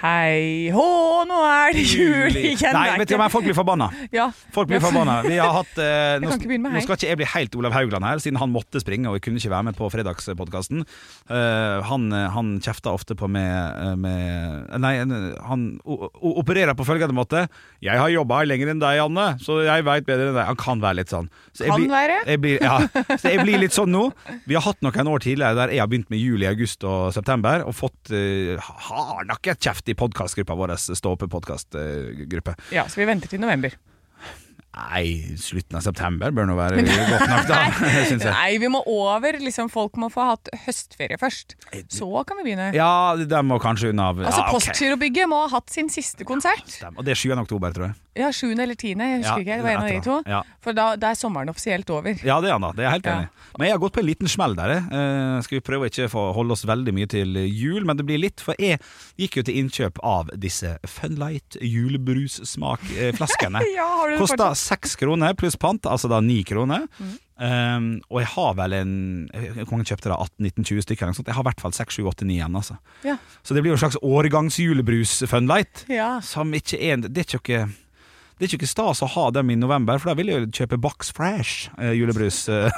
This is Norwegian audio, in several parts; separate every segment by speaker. Speaker 1: Hei hå, nå er det jul igjen!
Speaker 2: Nei, vet du hva, folk blir forbanna.
Speaker 1: ja.
Speaker 2: Folk blir forbanna. Vi har hatt, eh,
Speaker 1: Jeg
Speaker 2: nå,
Speaker 1: kan ikke begynne med
Speaker 2: nå
Speaker 1: hei.
Speaker 2: skal ikke jeg bli helt Olav Haugland her, siden han måtte springe og jeg kunne ikke være med på fredagspodkasten. Eh, han, han kjefter ofte på med, med eh, Nei, han o, o, opererer på følgende måte. 'Jeg har jobba lenger enn deg, Anne, så jeg veit bedre enn deg.' Han kan være litt sånn. Så jeg
Speaker 1: Kan
Speaker 2: blir-
Speaker 1: være?
Speaker 2: jeg blir, ja. Så jeg blir litt sånn nå. Vi har hatt noen år tidligere der jeg har begynt med juli, august og september, og fått uh, hardnakket kjeft i podkastgruppa vår, eh, Stå oppe-podkastgruppe.
Speaker 1: ja, så vi venter til november.
Speaker 2: Nei, slutten av september bør nå være godt nok, da. Synes jeg.
Speaker 1: Nei, vi må over. liksom Folk må få hatt høstferie først. Så kan vi begynne.
Speaker 2: Ja, de må kanskje unna.
Speaker 1: Altså,
Speaker 2: ja, ok.
Speaker 1: Postgirobygget må ha hatt sin siste konsert.
Speaker 2: Og det er 7. oktober, tror jeg.
Speaker 1: Ja, 7. eller 10. Jeg husker
Speaker 2: Ja,
Speaker 1: ikke. Det var en av de
Speaker 2: etter
Speaker 1: to.
Speaker 2: det. Ja.
Speaker 1: For da, da er sommeren offisielt over.
Speaker 2: Ja, det er han da. Det er jeg helt
Speaker 1: Ja.
Speaker 2: enig i. Men jeg har gått på en liten smell der. jeg. Eh, skal vi prøve å ikke få holde oss veldig mye til jul, men det blir litt. For jeg gikk jo til innkjøp av disse Funlight julebrussmakflaskene.
Speaker 1: Ja, har du det
Speaker 2: Kosta
Speaker 1: fortsatt? Mm.
Speaker 2: seks kroner pluss pant, altså da ni kroner. Eh, og jeg har vel en jeg- Hvor mange kjøpte da? 18-19-20 stykker? Eller noe sånt. Jeg har i hvert fall 6-7-8-9 igjen, altså.
Speaker 1: Ja.
Speaker 2: Så det blir jo en slags årgangsjulebrus-funlight.
Speaker 1: Ja.
Speaker 2: Som ikke er en- Det er ikke noe det er ikke stas å ha dem i november, for da vil jeg jo kjøpe Box Fresh eh, julebrussaft.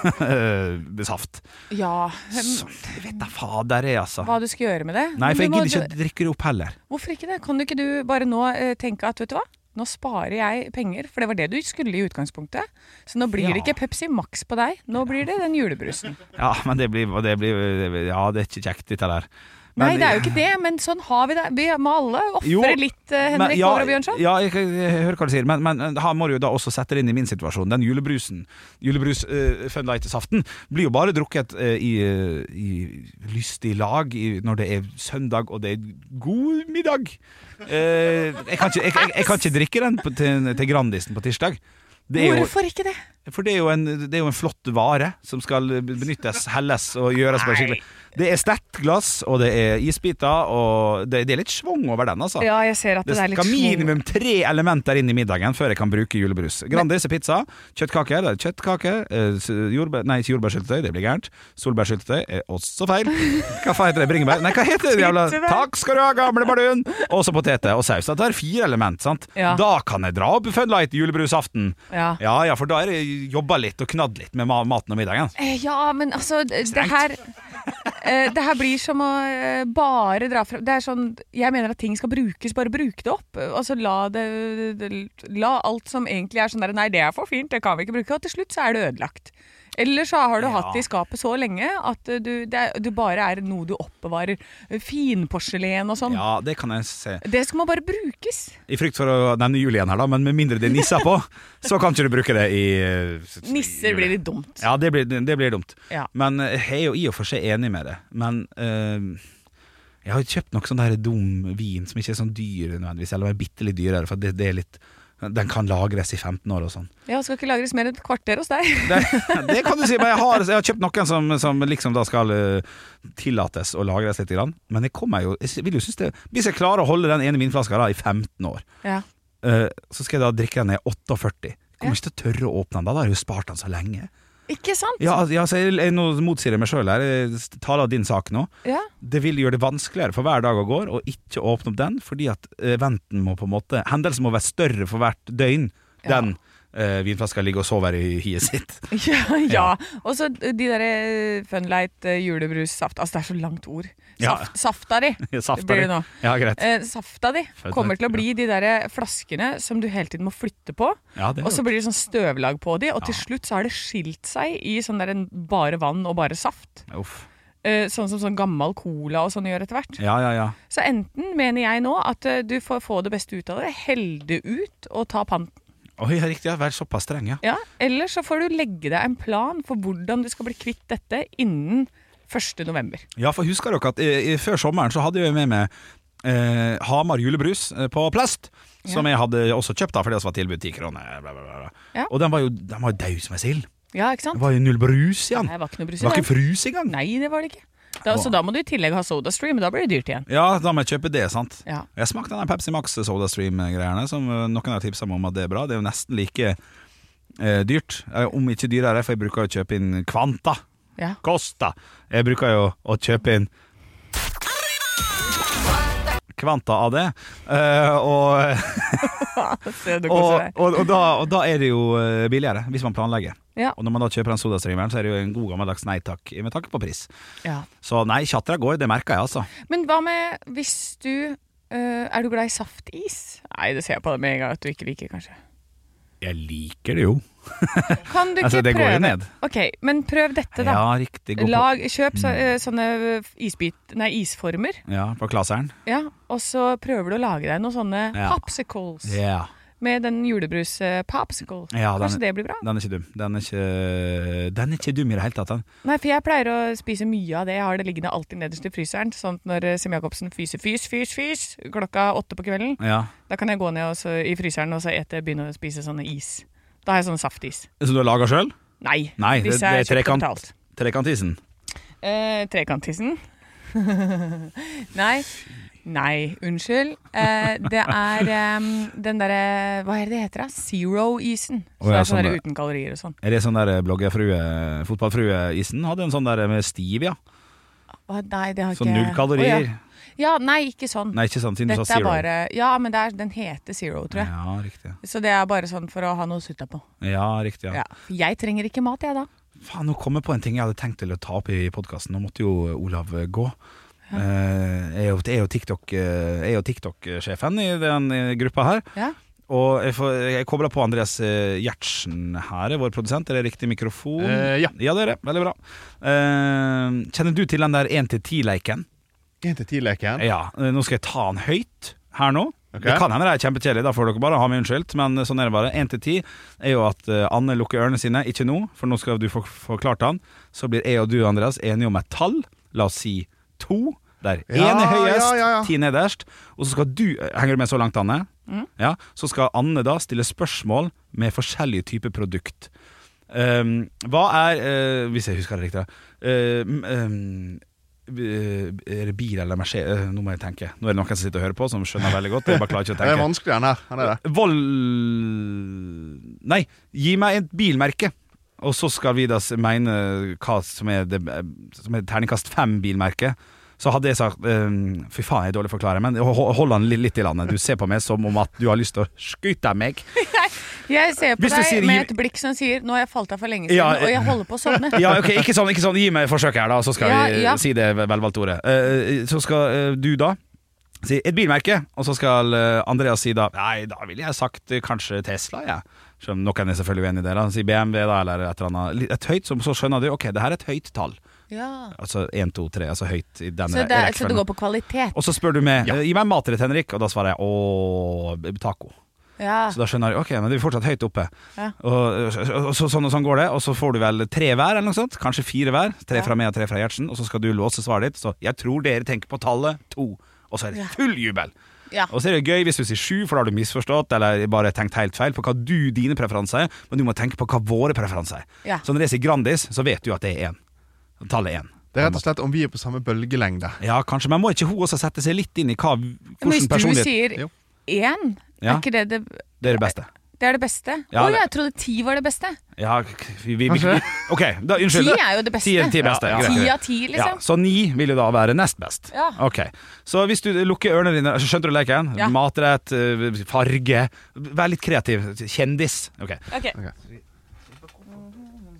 Speaker 1: ja.
Speaker 2: Så jeg vet da fader, jeg, altså.
Speaker 1: Hva du skal gjøre med det?
Speaker 2: Nei, for jeg
Speaker 1: Du må-
Speaker 2: gidder ikke å drikke det opp heller.
Speaker 1: Hvorfor ikke det? Kan du ikke du bare nå eh, tenke at vet du hva? Nå sparer jeg penger, for det var det du skulle i utgangspunktet. Så nå blir
Speaker 2: Ja.
Speaker 1: det ikke Pepsi Max på deg, nå blir det den julebrusen.
Speaker 2: Ja, men det blir, det blir Ja, det er ikke kjekt, dette der.
Speaker 1: Nei, det er jo ikke det, men sånn har vi det. Vi må alle
Speaker 2: Jo,
Speaker 1: ofre litt, eh,
Speaker 2: men-
Speaker 1: Henrik
Speaker 2: ja,
Speaker 1: Over og Bjørnson.
Speaker 2: Ja, jeg, jeg, jeg hører hva du sier, men, men han må du jo da også sette det inn i min situasjon. Den julebrusen, julebrus uh, Funlight-saften, blir jo bare drukket eh, i, eh, i lystig lag i, når det er søndag og det er god middag. Eh, jeg, kan ikke, jeg, jeg, jeg kan ikke drikke den på, til, til Grandisen på tirsdag. Det er jo,
Speaker 1: Hvorfor ikke det?
Speaker 2: for det er, jo en, det er jo en flott vare som skal benyttes, helles og gjøres på skikkelig. Det er sterkt glass, og det er isbiter, og det, det er litt schwung over den, altså.
Speaker 1: Ja, jeg ser at det,
Speaker 2: Det
Speaker 1: er
Speaker 2: skal
Speaker 1: litt
Speaker 2: minimum tre elementer inn i middagen før jeg kan bruke julebrus. Grandis er pizza, kjøttkaker det er kjøttkaker, eh, s- jordbær, nei, ikke jordbærsyltetøy, det blir gærent. Solbærsyltetøy er også feil. Hva faen heter det? Bringebær? Nei, hva heter det? Jævla?
Speaker 1: Tyttebær.
Speaker 2: Takk skal du ha, gamle bardun! Og så poteter og saus. Det er fire element, sant?
Speaker 1: Ja.
Speaker 2: Da kan jeg dra opp Funlight julebrusaften.
Speaker 1: Ja.
Speaker 2: ja ja, for da er det jobba litt og knadd litt med ma- maten og middagen.
Speaker 1: Eh, Ja, men altså, d- det her eh, Det her blir som å eh, bare dra fra Det er sånn Jeg mener at ting skal brukes, bare bruk det opp. Altså la det La alt som egentlig er sånn der Nei, det er for fint, det kan vi ikke bruke. Og til slutt så er det ødelagt. Eller så har du
Speaker 2: Ja.
Speaker 1: hatt det i skapet så lenge at eh, du, det er, du bare er noe du oppbevarer. Finporselen og sånn.
Speaker 2: Ja, det kan jeg se.
Speaker 1: Det skal man bare brukes.
Speaker 2: I frykt for å nevne jul igjen her, da, men med mindre det er nisser på, så kan ikke du bruke det i eh,
Speaker 1: Nisser
Speaker 2: jule.
Speaker 1: blir litt dumt.
Speaker 2: Ja, det blir, det blir dumt.
Speaker 1: Ja.
Speaker 2: Men eh, jeg er jo i og for seg enig med det. Men eh, jeg har jo kjøpt noe sånn der dum vin som ikke er sånn dyr nødvendigvis, eller er bitte litt dyrere, for det, det er litt den kan lagres i 15 år og sånn.
Speaker 1: Ja, skal ikke lagres mer enn et kvarter hos deg.
Speaker 2: Det, det kan du si, men jeg har, jeg har kjøpt noen som, som liksom da skal eh, tillates å lagres litt. Grann. Men jeg kommer jo, jeg vil jo synes det, hvis jeg klarer å holde den ene vinflaska da i 15 år,
Speaker 1: Ja.
Speaker 2: eh, så skal jeg da drikke den i 48. Jeg
Speaker 1: Ja.
Speaker 2: kommer ikke til å tørre å åpne den da, da har jeg jo spart den så lenge.
Speaker 1: Ikke sant?
Speaker 2: Ja, altså, ja, så jeg, jeg, nå motsier jeg meg sjøl her. Jeg taler din sak nå.
Speaker 1: Ja.
Speaker 2: Det vil gjøre det vanskeligere for hver dag og går å ikke åpne opp den, fordi at eventen må på en måte Hendelsen må være større for hvert døgn
Speaker 1: Ja.
Speaker 2: den eh, vinflaska ligger og sover i hiet sitt.
Speaker 1: Ja, ja. Og så de der Funlight eh, julebrussaft. Altså, det er så langt ord.
Speaker 2: Ja.
Speaker 1: Saft, Safta di
Speaker 2: Safta
Speaker 1: blir
Speaker 2: di.
Speaker 1: det nå.
Speaker 2: Ja, greit.
Speaker 1: Eh, safta di
Speaker 2: Funlight,
Speaker 1: kommer til å bli de der eh, flaskene som du hele tiden må flytte på.
Speaker 2: Ja, det er
Speaker 1: Og så
Speaker 2: jo-
Speaker 1: blir det sånn støvlag på de, og til
Speaker 2: Ja.
Speaker 1: slutt så har det skilt seg i sånn der en bare vann og bare saft.
Speaker 2: Uff.
Speaker 1: Eh, sånn som sånn gammel cola og sånn gjør etter hvert.
Speaker 2: Ja, ja, ja.
Speaker 1: Så enten mener jeg nå at eh, du får få det beste ut av det, hell det ut og ta panten.
Speaker 2: Oi, ja, riktig. Ja. Vær såpass streng, ja.
Speaker 1: Ja, eller så får du legge deg en plan for hvordan du skal bli kvitt dette innen 1. november.
Speaker 2: Ja, for husker dere at eh, eh, før sommeren så hadde jeg med meg eh, Hamar julebrus eh, på plast, som jeg hadde også kjøpt da, fordi det var tilbud 10 kroner. Bla, bla, bla.
Speaker 1: Ja.
Speaker 2: Og den var jo, den var jo daud som ei sild.
Speaker 1: Ja, ikke
Speaker 2: Det
Speaker 1: sant?
Speaker 2: var jo null brus i den.
Speaker 1: Nei, det var ikke noe brus
Speaker 2: Det var
Speaker 1: i
Speaker 2: ikke
Speaker 1: den.
Speaker 2: frus engang.
Speaker 1: Nei, det var det ikke. Da, så da må du i tillegg ha SodaStream, og da blir det dyrt igjen.
Speaker 2: Ja, da må jeg kjøpe det, sant.
Speaker 1: Ja.
Speaker 2: Jeg smakte den der Pepsi Max Soda Stream-greiene, som eh, noen har tipsa meg om at det er bra. Det er jo nesten like eh, dyrt, eh, om ikke dyrere, for jeg bruker jo å kjøpe inn Kvanta.
Speaker 1: Ja.
Speaker 2: Kosta. Jeg bruker jo å kjøpe inn Kvanta av det. Eh, og,
Speaker 1: Se, du
Speaker 2: og,
Speaker 1: koser deg.
Speaker 2: og, og, da, og da er det jo eh, billigere, hvis man planlegger.
Speaker 1: Ja.
Speaker 2: Og når man da kjøper den sodastreameren, så er det jo en god gammeldags nei takk, med tanke på pris.
Speaker 1: ja.
Speaker 2: Så nei, tjatra går, det merker jeg altså.
Speaker 1: Men hva med hvis du øh, Er du glad i saftis? Nei, det ser jeg på deg med en gang at du ikke liker, kanskje.
Speaker 2: Jeg liker det jo.
Speaker 1: Kan du ikke
Speaker 2: Altså, det går
Speaker 1: prøve
Speaker 2: jo ned.
Speaker 1: Ok, men prøv dette, da.
Speaker 2: Ja, riktig. God på,
Speaker 1: Lag, kjøp så, øh, sånne øh, isbit, nei, isformer,
Speaker 2: ja, på klaseren.
Speaker 1: ja, og så prøver du å lage deg noen sånne
Speaker 2: Ja.
Speaker 1: popsicles
Speaker 2: Ja.
Speaker 1: med den julebrus-popsicle.
Speaker 2: Ja, den-
Speaker 1: Kanskje det blir bra?
Speaker 2: Den er ikke dum. Den er ikke, den er ikke dum i det hele tatt. Den.
Speaker 1: Nei, for jeg pleier å spise mye av det. Jeg har det liggende alltid nederst i fryseren. Sånn at når eh, Sim Jacobsen fyser fys, fys, fys klokka åtte på kvelden,
Speaker 2: Ja.
Speaker 1: da kan jeg gå ned og så, i fryseren og så ete, begynne å spise sånne is. Da har jeg sånn saftis.
Speaker 2: Så du har laga sjøl?
Speaker 1: Nei,
Speaker 2: Nei, det,
Speaker 1: disse
Speaker 2: det
Speaker 1: er
Speaker 2: er
Speaker 1: kjøpt og
Speaker 2: trekant,
Speaker 1: betalt.
Speaker 2: trekantisen.
Speaker 1: Eh, trekanttissen. Nei. Nei, unnskyld. Eh, det er em, den derre Hva er det det heter? da? Zero-isen. Så
Speaker 2: Å ja,
Speaker 1: det er sånn
Speaker 2: sånn
Speaker 1: der
Speaker 2: det.
Speaker 1: uten kalorier og sånn.
Speaker 2: Er det sånn der bloggerfrue, fotballfrueisen? Hadde en sånn der med Stevia.
Speaker 1: Å, Nei, det har ikke
Speaker 2: Sånn null kalorier.
Speaker 1: Å, ja. ja, nei, ikke sånn.
Speaker 2: Nei, ikke sant, siden du
Speaker 1: Dette
Speaker 2: sa
Speaker 1: er
Speaker 2: zero.
Speaker 1: bare Ja, men det er, den heter Zero, tror jeg.
Speaker 2: Ja, riktig.
Speaker 1: Så det er bare sånn for å ha noe å sutte på.
Speaker 2: Ja, riktig ja.
Speaker 1: Ja. Jeg trenger ikke mat, jeg da.
Speaker 2: Faen, nå kom jeg på en ting jeg hadde tenkt til å ta opp i podkasten. Nå måtte jo Olav eh, gå. Eh, jeg er jo- jeg er jo TikTok, eh, jeg er jo TikTok-sjefen i den eh, gruppa her.
Speaker 1: Ja.
Speaker 2: Og jeg, får, jeg kobler på Andreas eh, Gjertsen her, vår produsent. Er det riktig mikrofon?
Speaker 3: Eh, ja.
Speaker 2: ja, det er det. Veldig bra. Eh, kjenner du til den der 1-10-leiken?
Speaker 4: En til ti-leken.
Speaker 2: Ja. eh, Nå skal jeg ta den høyt her nå.
Speaker 4: Ok.
Speaker 2: Det kan hende det er kjempekjedelig, da får dere bare ha meg unnskyldt, men sånn er det bare. 1-10 er jo at eh, Anne lukker ørene sine, ikke nå, for nå skal du få forklart han. Så blir jeg og du, Andreas, enige om et tall. La oss si to. Der én
Speaker 4: Ja,
Speaker 2: er høyest,
Speaker 4: ja, ja, ja.
Speaker 2: ti nederst. Og så skal du eh, Henger du med så langt, Anne? Ja, så skal Anne da stille spørsmål med forskjellige typer produkt. Um, hva er eh, Hvis jeg husker det riktig, da. Um, um, eh, er det bil eller Mercedes? Eh, Nå må jeg tenke. Nå er det noen som sitter og hører på, som skjønner veldig godt. Jeg bare klarer ikke å
Speaker 4: Det er
Speaker 2: tenke.
Speaker 4: vanskelig, den her. Den er det.
Speaker 2: Vold... Nei, gi meg et bilmerke. Og så skal vi da s- mene hva som er, det, eh, som er terningkast fem-bilmerke. Så hadde jeg sagt ehm, Fy faen, jeg er dårlig forklarer, men ho- ho- hold han li- litt i landet. Du ser på meg som om at du har lyst til å skyte meg.
Speaker 1: Jeg ser på
Speaker 2: Hvis du
Speaker 1: deg
Speaker 2: sier-
Speaker 1: med et blikk som sier 'nå har jeg falt av for lenge siden',
Speaker 2: Ja,
Speaker 1: og jeg holder på å sovne.
Speaker 2: Ja, ok, ikke sånn, ikke sånn. Gi meg et forsøk her, da, så skal
Speaker 1: Ja,
Speaker 2: vi eh,
Speaker 1: ja.
Speaker 2: si det velvalgte ordet. Eh, så skal eh, du da si et bilmerke, og så skal eh, Andreas si da Nei, da ville jeg sagt eh, kanskje Tesla, jeg. Ja. Noen er selvfølgelig uenig i det. da. Si BMW, da, eller et eller annet. Litt- Et høyt, så, så skjønner du ok, det her er et høyt tall.
Speaker 1: Ja.
Speaker 2: Altså 1, 2, 3, altså høyt i denne
Speaker 1: Så, det, er- så det
Speaker 2: rekkefølgen.
Speaker 1: går på kvalitet.
Speaker 2: Og så spør du meg eh, Gi meg en matrett, Henrik, og da svarer jeg å, taco.
Speaker 1: Ja.
Speaker 2: Så da skjønner jeg, ok, men det er fortsatt høyt oppe
Speaker 1: Ja.
Speaker 2: og, og, så, Sånn og sånn går det Og så får du vel tre hver eller noe sånt Kanskje fire hver, tre
Speaker 1: Ja.
Speaker 2: fra meg og tre fra Gjertsen Og så skal du låse svaret ditt Så jeg tror dere tenker på tallet to Og så er det full jubel
Speaker 1: Ja.
Speaker 2: Og så er det gøy hvis du sier sju, for da har du misforstått Eller bare tenkt helt feil på hva du, dine preferanser er Men du må tenke på hva våre preferanser er
Speaker 1: Ja.
Speaker 2: Så når jeg sier Grandis, så vet du at det er en Tallet er en
Speaker 4: Det er rett og slett om vi er på samme bølgelengde.
Speaker 2: Ja, kanskje, men må ikke hun også sette seg litt inn i hva,
Speaker 1: Men
Speaker 2: hvordan
Speaker 1: hvis du
Speaker 2: personlighet
Speaker 1: sier
Speaker 4: Jo.
Speaker 1: én,
Speaker 2: Ja.
Speaker 1: er ikke det det
Speaker 2: Det er det beste
Speaker 1: Det er det beste? Å
Speaker 2: Ja,
Speaker 1: ja,
Speaker 2: det-
Speaker 1: jeg trodde ti var det beste.
Speaker 2: Ja, vi, vi, vi,
Speaker 4: Kanskje.
Speaker 2: Ok, da,
Speaker 1: Ti
Speaker 2: unnskyld
Speaker 1: er jo det beste.
Speaker 2: Ti er ti beste, greit.
Speaker 1: Ti av ti,
Speaker 2: Ja,
Speaker 1: liksom.
Speaker 2: så ni vil jo da være nest best.
Speaker 1: Ja.
Speaker 2: Ok, Så hvis du lukker ørene dine Skjønte du leken?
Speaker 1: Ja.
Speaker 2: Matrett, eh, farge Vær litt kreativ. Kjendis. Ok
Speaker 1: Ok.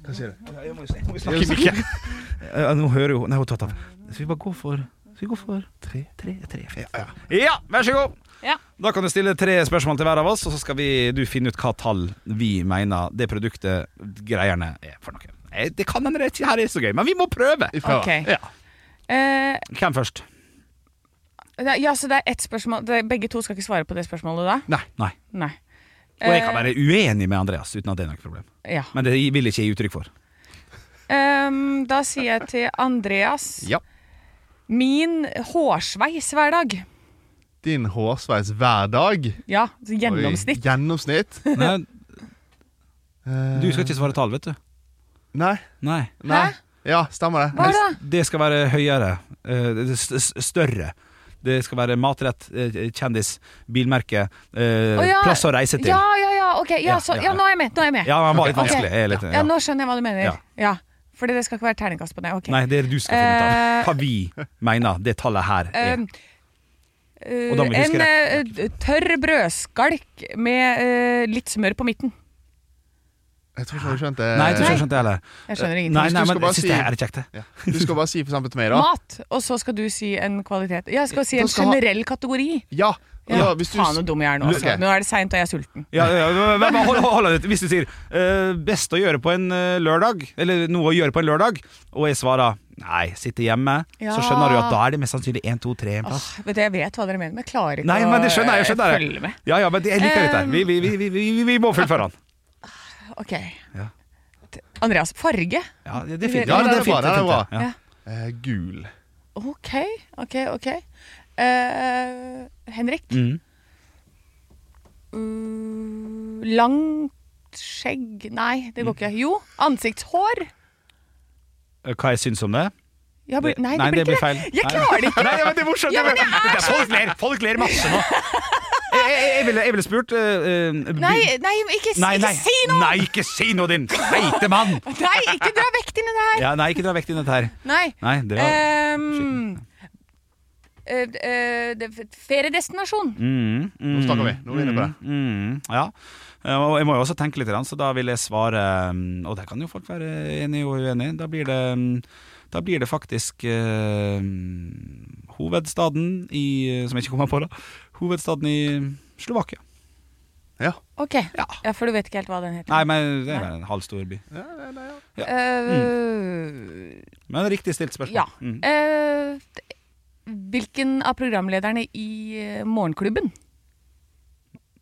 Speaker 4: Hva sier du?
Speaker 2: Eh, Nå hører jo Nei, hun har tatt av. Skal vi bare gå for Skal vi gå for tre? Tre, tre, fire.
Speaker 4: Ja, ja.
Speaker 2: Ja, vær så god!
Speaker 1: Ja.
Speaker 2: Da kan du stille tre spørsmål til hver av oss, og så skal vi, du finne ut hva tall vi mener det produktet, greiene, er for noe. Eh, Det kan hende det ikke her er så gøy, men vi må prøve!
Speaker 4: Ifra.
Speaker 1: Ok.
Speaker 2: Ja.
Speaker 1: Eh,
Speaker 2: Hvem først?
Speaker 1: det er- ja, så det er ett spørsmål det, Begge to skal ikke svare på det spørsmålet da?
Speaker 2: Nei. Nei.
Speaker 1: Nei.
Speaker 2: Og jeg kan være uenig med Andreas, uten at det er noe problem.
Speaker 1: Eh, ja.
Speaker 2: Men det vil ikke jeg gi uttrykk for.
Speaker 1: Ehm, da sier jeg til Andreas
Speaker 4: Ja.
Speaker 1: Min hårsveis hver dag.
Speaker 4: snitte inn hårsveis hver dag.
Speaker 1: Ja, så
Speaker 4: Oi,
Speaker 1: gjennomsnitt.
Speaker 4: Gjennomsnitt.
Speaker 2: Nei,
Speaker 4: Eh,
Speaker 2: du skal ikke svare tall, vet du.
Speaker 4: Nei.
Speaker 2: Nei.
Speaker 4: nei.
Speaker 1: Hæ?
Speaker 4: Ja, stemmer det.
Speaker 1: Hva da?
Speaker 2: Det skal være høyere. eh, det- det s- s- Større. Det skal være matrett, eh, kjendis, bilmerke, eh,
Speaker 1: Å, ja.
Speaker 2: plass å reise til.
Speaker 1: Ja, ja, ja, ok. Ja,
Speaker 2: Ja,
Speaker 1: så,
Speaker 2: ja,
Speaker 1: ja,
Speaker 2: ja.
Speaker 1: nå er jeg med. Nå er jeg med.
Speaker 2: Ja, den var litt
Speaker 1: Ok.
Speaker 2: vanskelig. Jeg er litt,
Speaker 1: Ja,
Speaker 2: ja.
Speaker 1: nå skjønner jeg hva du mener.
Speaker 2: Ja.
Speaker 1: Ja, Fordi det skal ikke være terningkast på det. Ok.
Speaker 2: Nei, det er du skal finne ut av.
Speaker 1: Eh,
Speaker 2: Hva vi mener det tallet her er.
Speaker 1: Um, eh,
Speaker 2: Og da må vi huske
Speaker 1: en eh, tørr brødskalk med eh, litt smør på midten.
Speaker 4: Jeg tror ikke du skjønte
Speaker 2: Nei, jeg tror ikke jeg skjønte det heller.
Speaker 1: Jeg skjønner ingenting.
Speaker 2: Eh, Nei,
Speaker 4: Hvis du
Speaker 2: nei,
Speaker 4: skal
Speaker 2: men
Speaker 4: bare
Speaker 2: jeg syns
Speaker 4: si-
Speaker 2: det her er kjekt, det.
Speaker 4: Ja. Du skal bare si for eksempel til meg, da.
Speaker 1: Mat, og så skal du si en kvalitet. Jeg skal si
Speaker 4: Da
Speaker 1: en
Speaker 4: skal ha-
Speaker 1: generell kategori.
Speaker 4: Ja.
Speaker 1: Ja,
Speaker 4: ja hvis du...
Speaker 1: Faen så dum jeg er nå. Altså.
Speaker 4: Ok.
Speaker 1: Nå er det seint, og jeg er sulten.
Speaker 2: Ja, ja, men- men- men hold, hold, hold, hvis du sier eh, 'best å gjøre på en eh, lørdag', eller 'noe å gjøre på en lørdag', og jeg svarer 'nei, sitte hjemme',
Speaker 1: Ja.
Speaker 2: så skjønner du at da er det mest sannsynlig 1, 2, 3 en plass.
Speaker 1: Åh, vet du, jeg vet hva dere mener, men jeg klarer ikke
Speaker 2: Ah. Nei, men det skjønner jeg. jeg
Speaker 1: å, eh,
Speaker 2: skjønner det.
Speaker 1: følge med.
Speaker 2: Ja, ja, men jeg liker dette. Vi, vi, vi, vi, vi, vi må fullføre den.
Speaker 1: Ok.
Speaker 2: Ja.
Speaker 1: T- Andreas, farge?
Speaker 2: Ja, det er fint.
Speaker 1: Ja,
Speaker 2: Ja, det
Speaker 4: det
Speaker 2: er
Speaker 4: er
Speaker 2: fint.
Speaker 4: bra,
Speaker 2: Det er
Speaker 4: det er
Speaker 2: fint ja.
Speaker 4: Eh, gul.
Speaker 1: Ok, ok, ok. Eh, Henrik?
Speaker 2: Mm.
Speaker 1: Uh, langt skjegg Nei, det går
Speaker 2: Mm.
Speaker 1: ikke. Jo, ansiktshår.
Speaker 2: Eh, Hva jeg syns om det?
Speaker 1: Jeg blir, nei,
Speaker 2: Nei,
Speaker 1: det blir ikke
Speaker 2: feil.
Speaker 1: Jeg klarer det ikke.
Speaker 2: Nei, men det er morsomt.
Speaker 1: Ja, men det
Speaker 2: er folk ler, folk ler masse nå. Jeg, jeg, jeg, ville, jeg ville spurt eh, eh, by-
Speaker 1: Nei, nei, ikke,
Speaker 2: nei, nei.
Speaker 1: ikke si noe!
Speaker 2: Nei, ikke si noe, din feite mann!
Speaker 1: Nei, ikke dra vekk din i det her.
Speaker 2: Ja, nei, ikke dra vekk din dette her.
Speaker 1: Nei.
Speaker 2: Nei, dra
Speaker 1: Ehm, eh, eh, det- Feriedestinasjon.
Speaker 2: mm, mm,
Speaker 4: Nå snakker vi. Nå er vi inne på det.
Speaker 2: Mm, ja. Eh, Og jeg må jo også tenke litt, grann, så da vil jeg svare mm, Og der kan jo folk være enige og uenige. Da blir det, mm, da blir det faktisk eh, mm, hovedstaden i Som jeg ikke kommer på, da. Hovedstaden i Slovakia.
Speaker 4: Ja.
Speaker 1: Ok,
Speaker 2: Ja.
Speaker 1: ja, for du vet ikke helt hva den heter.
Speaker 2: Nei, men det er vel en halv stor by. Mm.
Speaker 1: Eh,
Speaker 2: Men riktig stilt spørsmål.
Speaker 1: Ja.
Speaker 2: Mm.
Speaker 1: Eh, hvilken av programlederne i eh, Morgenklubben?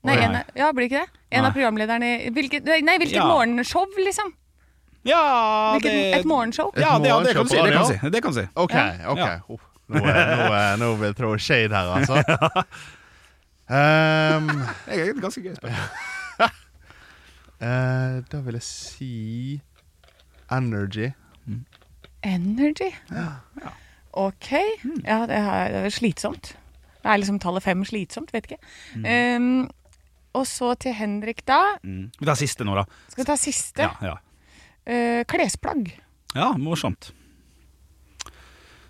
Speaker 1: Nei,
Speaker 2: Oi.
Speaker 1: en, av- ja, blir det ikke det? En
Speaker 2: Nei.
Speaker 1: av programlederne Hvilket, nei, hvilket
Speaker 2: Ja.
Speaker 1: morgenshow, liksom?
Speaker 2: Ja,
Speaker 1: Hvilket, et morgenshow?
Speaker 2: Ja, det, ja, det kan du si. Det kan du
Speaker 4: morgenshow på
Speaker 2: si. Det kan du si.
Speaker 4: OK.
Speaker 2: Ja.
Speaker 4: ok
Speaker 2: Ja.
Speaker 4: Oh, nå, er- nå, er- nå vil jeg trå shade her, altså. Ehm,
Speaker 2: Det er et ganske gøy spørsmål.
Speaker 4: eh, da vil jeg si Energy.
Speaker 1: Energy. Ok.
Speaker 2: Mm.
Speaker 1: Ja, det er, det er slitsomt. Det er liksom tallet fem slitsomt, vet ikke. Eh, og så til Henrik, da.
Speaker 2: Mm. Vi tar siste nå, da.
Speaker 1: Skal vi ta siste?
Speaker 2: Ja, ja.
Speaker 1: Eh, klesplagg.
Speaker 2: ja morsomt.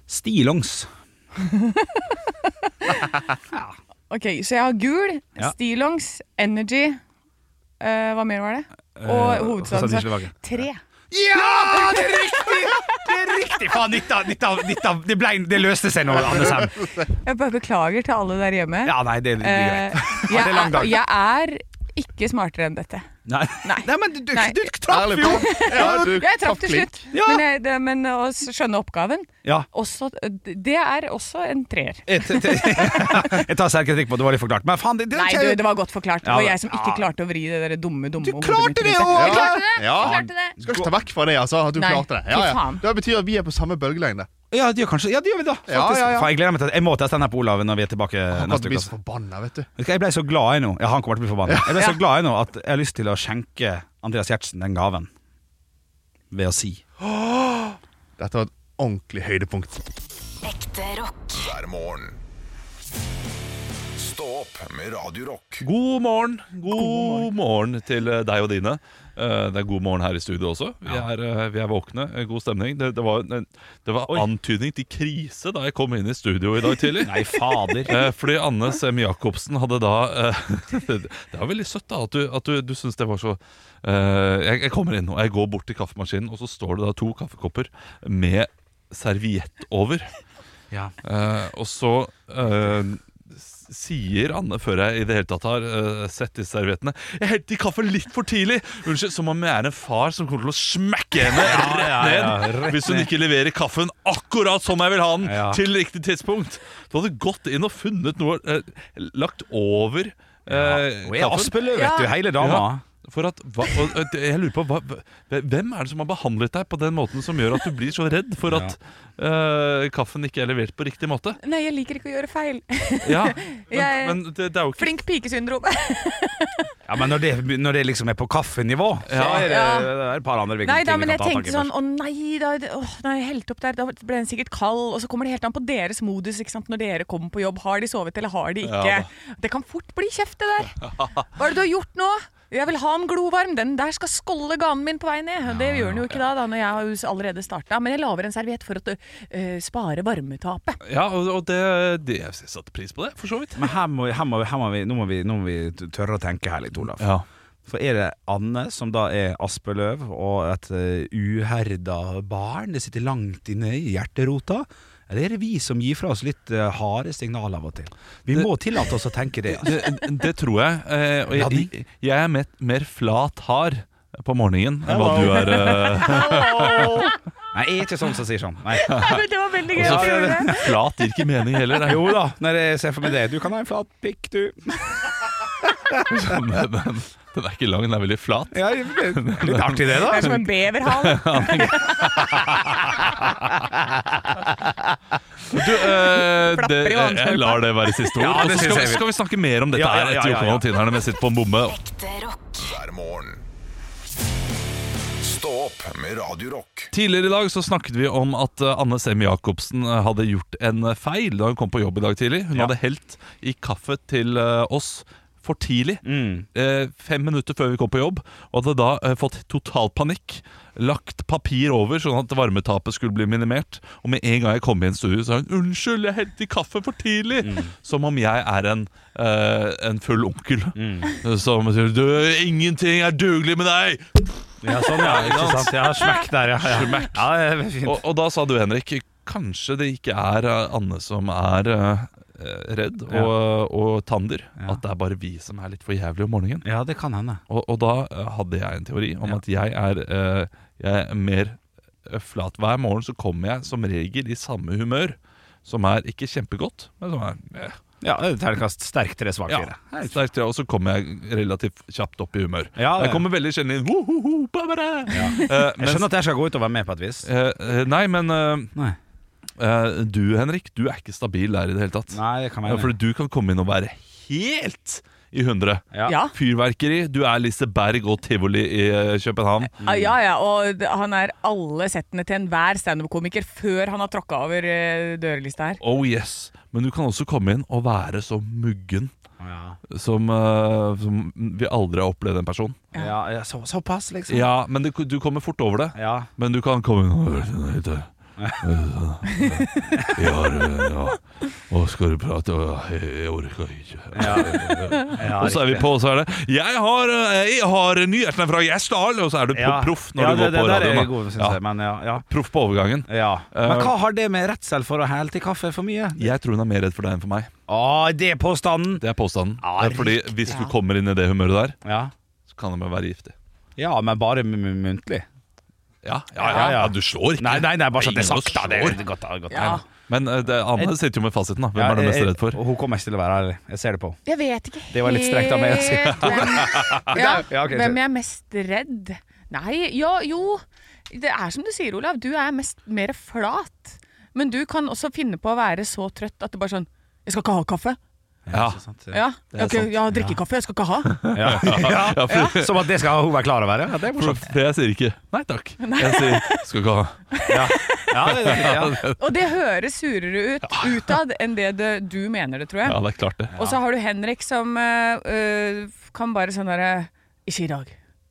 Speaker 2: Stillongs.
Speaker 1: Ok, så jeg har gul,
Speaker 2: Ja.
Speaker 1: stillongs, energy eh, Hva mer var det? Og
Speaker 2: Eh,
Speaker 1: hovedstaden
Speaker 2: hovedstaden i Slovakia.
Speaker 1: Tre.
Speaker 2: Ja, det er riktig! Det er riktig! Faen, nytt av, nytt av, nytt av. Det, ble, det løste seg nå, Anders Hem.
Speaker 1: Jeg bare beklager til alle der hjemme.
Speaker 2: Ja, nei, det er
Speaker 1: Eh,
Speaker 2: greit. Ja, det
Speaker 1: jeg,
Speaker 2: er lang
Speaker 1: er,
Speaker 2: dag.
Speaker 1: jeg er ikke smartere enn dette.
Speaker 2: Nei,
Speaker 1: nei.
Speaker 2: nei men du, du,
Speaker 1: Nei.
Speaker 2: du traff
Speaker 4: Ærlig
Speaker 2: jo!
Speaker 4: talt. Ja, du
Speaker 1: Jeg traff til
Speaker 4: klink.
Speaker 1: slutt,
Speaker 2: Ja.
Speaker 1: men, jeg, det, men å s- skjønne oppgaven
Speaker 2: Ja.
Speaker 1: også, Det er også en treer.
Speaker 2: Jeg, jeg tar selvkritikk på at det var litt forklart. Men faen, det, det,
Speaker 1: Nei, du, det var godt forklart. Det
Speaker 2: Ja,
Speaker 1: var
Speaker 2: men-
Speaker 1: jeg som ikke
Speaker 2: ja.
Speaker 1: klarte å vri det der dumme, dumme
Speaker 2: Du
Speaker 1: hodet
Speaker 2: klarte
Speaker 1: mitt
Speaker 2: det
Speaker 1: rundt
Speaker 2: jo!
Speaker 1: dette.
Speaker 2: Jeg klarte
Speaker 1: det!
Speaker 4: Ja.
Speaker 1: Jeg klarte det.
Speaker 4: Du skal ikke ta vekk fra det, altså, at du
Speaker 1: Nei,
Speaker 4: klarte det.
Speaker 1: fy
Speaker 4: Ja, ja.
Speaker 1: faen.
Speaker 4: Det betyr at vi er på samme bølgelengde.
Speaker 2: Ja, det gjør kanskje Ja, det gjør vi da. Faktisk.
Speaker 4: Ja, ja, ja.
Speaker 2: Faen, jeg gleder meg til at Jeg må teste den her på Olav når vi er tilbake
Speaker 4: Han kan
Speaker 2: neste
Speaker 4: bli
Speaker 2: uke.
Speaker 4: så
Speaker 2: altså.
Speaker 4: forbanna, vet du.
Speaker 2: Vet du hva, Jeg ble så glad jeg nå Ja, han kommer til å bli forbanna. Jeg ble så glad jeg nå at jeg har lyst til å skjenke Andreas Gjertsen den gaven ved å si
Speaker 4: Dette var et ordentlig høydepunkt.
Speaker 5: Ekte rock.
Speaker 6: hver morgen. Stå opp med Radio Rock.
Speaker 7: God morgen. God, morgen. til eh, deg og dine. Eh, Det er god morgen her i studio også. Vi er, eh, vi er våkne. eh, God stemning. Det, det var, en- det var antydning til krise da jeg kom inn i studio i dag tidlig.
Speaker 2: Nei, fader.
Speaker 7: Eh, Fordi Anne Sem Jacobsen hadde da eh, Det var veldig søtt da at du, at du, du syns det var så eh, jeg, jeg kommer inn og jeg går bort til kaffemaskinen, og så står det da to kaffekopper med serviett over.
Speaker 2: Ja.
Speaker 7: Eh, og så eh, s- sier Anne, før jeg i det hele tatt har eh, sett disse serviettene Jeg helte i kaffe litt for tidlig! Unnskyld, Som om jeg er en far som kommer til å smekke henne rett
Speaker 2: ja,
Speaker 7: ned
Speaker 2: ja, rett
Speaker 7: hvis hun
Speaker 2: ned.
Speaker 7: ikke leverer kaffen akkurat som jeg vil ha den,
Speaker 2: Ja.
Speaker 7: til riktig tidspunkt. Du hadde gått inn og funnet noe eh, lagt over eh,
Speaker 2: Hun er
Speaker 7: kaffen.
Speaker 2: Aspeløv, vet du. Hele dama.
Speaker 7: Ja. For at, hva, og, og jeg lurer på hva, Hvem er det som har behandlet deg på den måten som gjør at du blir så redd for at eh, kaffen ikke er levert på riktig måte?
Speaker 1: Nei, jeg liker ikke å gjøre feil.
Speaker 7: Ja, Men,
Speaker 1: Jeg-
Speaker 7: men det, det er jo ikke
Speaker 1: Flink pike-syndrom.
Speaker 2: Ja, men når det, når det liksom er på kaffenivå, så
Speaker 7: Ja.
Speaker 2: er det,
Speaker 1: Ja.
Speaker 2: det er et par andre
Speaker 1: Nei da,
Speaker 2: ting vi
Speaker 1: men
Speaker 2: kan
Speaker 1: jeg
Speaker 2: ta tak i
Speaker 1: tenkte sånn
Speaker 2: først.
Speaker 1: Å nei, da, det- åh, nå har jeg helt opp der. Da ble den sikkert kald. Og så kommer det helt an på deres modus ikke sant? når dere kommer på jobb. Har de sovet, eller har de ikke?
Speaker 7: Ja,
Speaker 1: det kan fort bli kjeft, det der. Hva er det du har gjort nå? Jeg vil ha den glovarm. Den der skal skålde ganen min på vei ned. det gjør den jo ikke da, da, når jeg har jo allerede starta. Men jeg lager en serviett for å eh, spare varmetapet.
Speaker 7: Ja, og, og det, det Jeg satte pris på det, for så vidt.
Speaker 2: Men her må, vi- her må, vi- her må, vi, nå må vi Nå må vi tørre å tenke her litt, Olaf.
Speaker 7: Ja.
Speaker 2: For er det Anne, som da er aspeløv og et eh, uherda barn, det sitter langt inne i hjerterota? Eller er det vi som gir fra oss litt eh, harde signaler av og til? Vi
Speaker 7: Det-
Speaker 2: må tillate oss å tenke det. altså.
Speaker 7: Det, det tror jeg. eh, Og jeg,
Speaker 2: Blanding?
Speaker 7: jeg er mer, mer flat hard på morgenen enn hva du er. eh,
Speaker 2: Nei, jeg er ikke sånn som sier sånn. Nei.
Speaker 1: det var veldig gøy.
Speaker 7: Og så-
Speaker 1: at du gjorde det.
Speaker 7: altså, flat gir ikke mening heller. Det er
Speaker 2: Jo da, når jeg ser for meg det. Du kan ha en flat pikk, du.
Speaker 7: jo sånn, den, den er ikke lang, den er veldig flat.
Speaker 2: Ja, det er litt artig det,
Speaker 1: Det
Speaker 2: da.
Speaker 1: er som en beverhal.
Speaker 7: Du, eh,
Speaker 1: Flapper
Speaker 7: det,
Speaker 1: i vannskorpa.
Speaker 7: jeg lar det være siste ord.
Speaker 2: Ja, det
Speaker 7: og så skal,
Speaker 2: synes
Speaker 7: vi-
Speaker 2: jeg vi-
Speaker 7: skal vi snakke mer om dette
Speaker 2: Ja, ja,
Speaker 7: her
Speaker 2: ja,
Speaker 7: etter
Speaker 2: ja, ja.
Speaker 7: Jokan og Tinerne med sitt på en bomme.
Speaker 6: hver morgen. Stå opp med Radio Rock.
Speaker 7: Tidligere i dag så snakket vi om at eh, Anne Sem Jacobsen eh, hadde gjort en eh, feil da hun kom på jobb i dag tidlig. Hun
Speaker 2: Ja.
Speaker 7: hadde helt i kaffe til eh, oss for tidlig.
Speaker 2: Mm.
Speaker 7: eh, fem minutter før vi kom på jobb, og hadde da eh, fått total panikk. Lagt papir over, sånn at varmetapet skulle bli minimert. Og med en gang jeg kom i en studio, sa hun 'Unnskyld, jeg helte i kaffe for tidlig!' Som om jeg er en, eh, en full onkel eh, som sier du, 'Ingenting er dugelig med deg!'
Speaker 2: Ja, sånn, ja. Ikke sant. Ja, smekk der, ja. ja. ja det er fint.
Speaker 7: Og, og da sa du, Henrik, kanskje det ikke er eh, Anne som er eh, eh, redd og,
Speaker 2: Ja.
Speaker 7: og tander.
Speaker 2: Ja.
Speaker 7: At det er bare vi som er litt for jævlige om morgenen.
Speaker 2: Ja, det kan hende.
Speaker 7: Og, og da eh, hadde jeg en teori om at jeg er, eh, jeg er mer eh, flat. Hver morgen så kommer jeg som regel i samme humør, som er ikke kjempegodt, men som er eh,
Speaker 2: Ja, terningkast sterk tre, svak
Speaker 7: ja,
Speaker 2: fire. Hei,
Speaker 7: sterkt. ja, Og så kommer jeg relativt kjapt opp i humør.
Speaker 2: Ja, det-
Speaker 7: jeg kommer veldig sjelden inn ho, ho, ho, ba, ba, da. Eh,
Speaker 2: Jeg skjønner
Speaker 7: mens-
Speaker 2: at jeg skal gå ut og være med på et vis.
Speaker 7: eh, eh, Nei, men eh,
Speaker 2: Nei,
Speaker 7: eh, du, Henrik, du er ikke stabil der i det hele tatt.
Speaker 2: Nei det kan
Speaker 7: Ja,
Speaker 2: være
Speaker 7: for du kan komme inn og være helt i hundre.
Speaker 1: Ja.
Speaker 7: Fyrverkeri. Du er Liseberg og tivoli i eh, København.
Speaker 1: Ah, Ja, ja, og d- han er alle settene til enhver standup-komiker før han har tråkka over eh, dørlista her.
Speaker 7: Oh yes Men du kan også komme inn og være så muggen
Speaker 2: Ja.
Speaker 7: som, eh, som vi aldri har opplevd en person
Speaker 2: Ja, ja, så, såpass, liksom.
Speaker 7: Ja, men det, du kommer fort over det
Speaker 2: Ja.
Speaker 7: Men du kan komme inn og sånn, høre den høyt Ja, ja Og skal du prate Ja, Jeg orker ikke
Speaker 2: Ja. Ja,
Speaker 7: og så er vi
Speaker 2: riktig.
Speaker 7: på, og så er det Jeg har, eh, jeg har nyhetene fra Gjesdal Og så er du pro-
Speaker 2: Ja.
Speaker 7: proff når
Speaker 2: ja,
Speaker 7: du går på
Speaker 2: det, det der
Speaker 7: radioen
Speaker 2: er god,
Speaker 7: da.
Speaker 2: synes
Speaker 7: ja,
Speaker 2: jeg, men ja, ja.
Speaker 7: Proff på overgangen
Speaker 2: ja. Men
Speaker 7: Eh,
Speaker 2: hva har det med redsel for å helte i kaffe for mye?
Speaker 7: Jeg tror hun er mer redd for deg enn for meg
Speaker 2: Å, det er påstanden!
Speaker 7: Det er påstanden
Speaker 2: Ja,
Speaker 7: Det er Fordi hvis du kommer inn i det humøret der
Speaker 2: Ja,
Speaker 7: Så kan det bare være giftig
Speaker 2: ja men bare mu- mu- muntlig.
Speaker 7: Ja, ja, ja,
Speaker 2: Ja, ja.
Speaker 7: du slår ikke.
Speaker 2: Nei, nei, nei, bare så det er
Speaker 7: Ingen
Speaker 2: sagt, da. Det
Speaker 7: slår.
Speaker 2: er godt, da, godt.
Speaker 1: Ja.
Speaker 7: Men eh, det, Anne sitter jo med fasiten. da Hvem er du mest redd for?
Speaker 2: Jeg- eh, Hun kommer ikke til å være her. Jeg ser det på henne.
Speaker 1: Jeg vet ikke helt
Speaker 2: Det var litt strengt av meg å si. Ah.
Speaker 1: hvem- ja,
Speaker 2: Ja, ok,
Speaker 1: Hvem jeg er mest redd? Nei, ja, jo Det er som du sier, Olav. Du er mest mer flat. Men du kan også finne på å være så trøtt at du bare sånn Jeg skal ikke ha kaffe.
Speaker 7: Ja,
Speaker 1: Ja,
Speaker 7: er
Speaker 1: jeg, okay,
Speaker 7: sant.
Speaker 1: jeg har drikkekaffe, jeg skal ikke ha.
Speaker 2: Ja. Ja. Ja. Som at det skal hun være klar over. Ja, det er
Speaker 7: for,
Speaker 2: morsomt.
Speaker 7: for jeg sier ikke 'nei takk'. Jeg sier 'skal ikke ha'.
Speaker 2: Ja, ja, det, er riktig, ja.
Speaker 1: Og det høres surere ut utad enn det det- du mener det, tror jeg.
Speaker 7: Ja, det er klart, det.
Speaker 1: Og så har du Henrik som eh, eh, kan bare sånn derre Ikke i dag.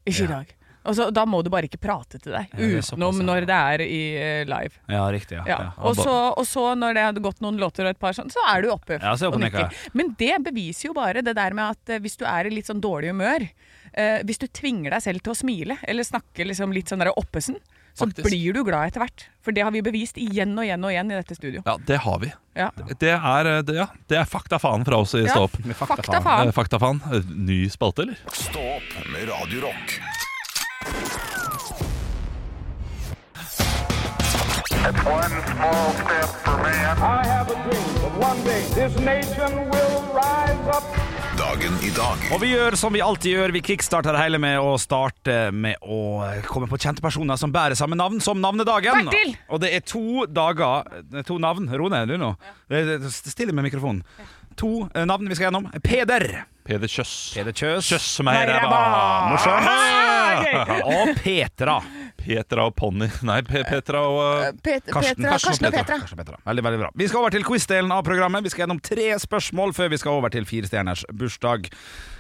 Speaker 1: Ikke i dag. Og så, da må du bare ikke prate til deg
Speaker 2: det er
Speaker 1: utenom
Speaker 2: såpass, ja.
Speaker 1: når det er i eh, live.
Speaker 2: ja, riktig. Ja.
Speaker 1: Ja.
Speaker 2: Ja.
Speaker 1: Og, så, og så, når det hadde gått noen låter og et par sånn, så er du oppe
Speaker 2: Ja, så
Speaker 1: og
Speaker 2: er jeg oppe og
Speaker 1: nikker. Men det beviser jo bare det der med at eh, hvis du er i litt sånn dårlig humør, eh, hvis du tvinger deg selv til å smile eller snakke liksom litt sånn der oppesen, så
Speaker 7: Faktisk.
Speaker 1: blir du glad etter hvert. For det har vi bevist igjen og igjen og igjen i dette studio.
Speaker 7: Ja, det har vi.
Speaker 1: Ja.
Speaker 7: Det er, eh, det, ja, det er fakta faen fra oss i Stå opp.
Speaker 2: Med fakta,
Speaker 1: Fakta
Speaker 2: faen.
Speaker 7: Eh,
Speaker 1: faen.
Speaker 7: Fakta faen. Eh, Ny spalte, eller?
Speaker 6: Stå opp med Radio Rock.
Speaker 5: I have a dream that one day this nation will rise up.
Speaker 6: Dag dagen i dag.
Speaker 2: Og vi gjør som vi alltid gjør, vi kickstarter det hele med å starte med å komme på kjente personer som bærer samme navn som navnedagen.
Speaker 1: Bertil!
Speaker 2: Og det er to dager det er To navn. Ro ned, du nå. Det er Stille med mikrofonen. To eh, navn vi skal gjennom. Peder.
Speaker 7: Peder Kjøss.
Speaker 2: Peder Kjøs.
Speaker 7: Kjøss meg i ræva!
Speaker 2: Ah, Morsomt.
Speaker 7: Ah, Gøy.
Speaker 2: Ah, Og Petra.
Speaker 7: Petra og Ponni Nei, Pe Petra og eh,
Speaker 1: Pet
Speaker 7: Karsten.
Speaker 1: Petra, Karsten og Petra.
Speaker 2: Karsten og Petra. Veldig, veldig bra. Vi skal over til quiz-delen av programmet. Vi skal gjennom tre spørsmål før vi skal over til Fire stjerners bursdag.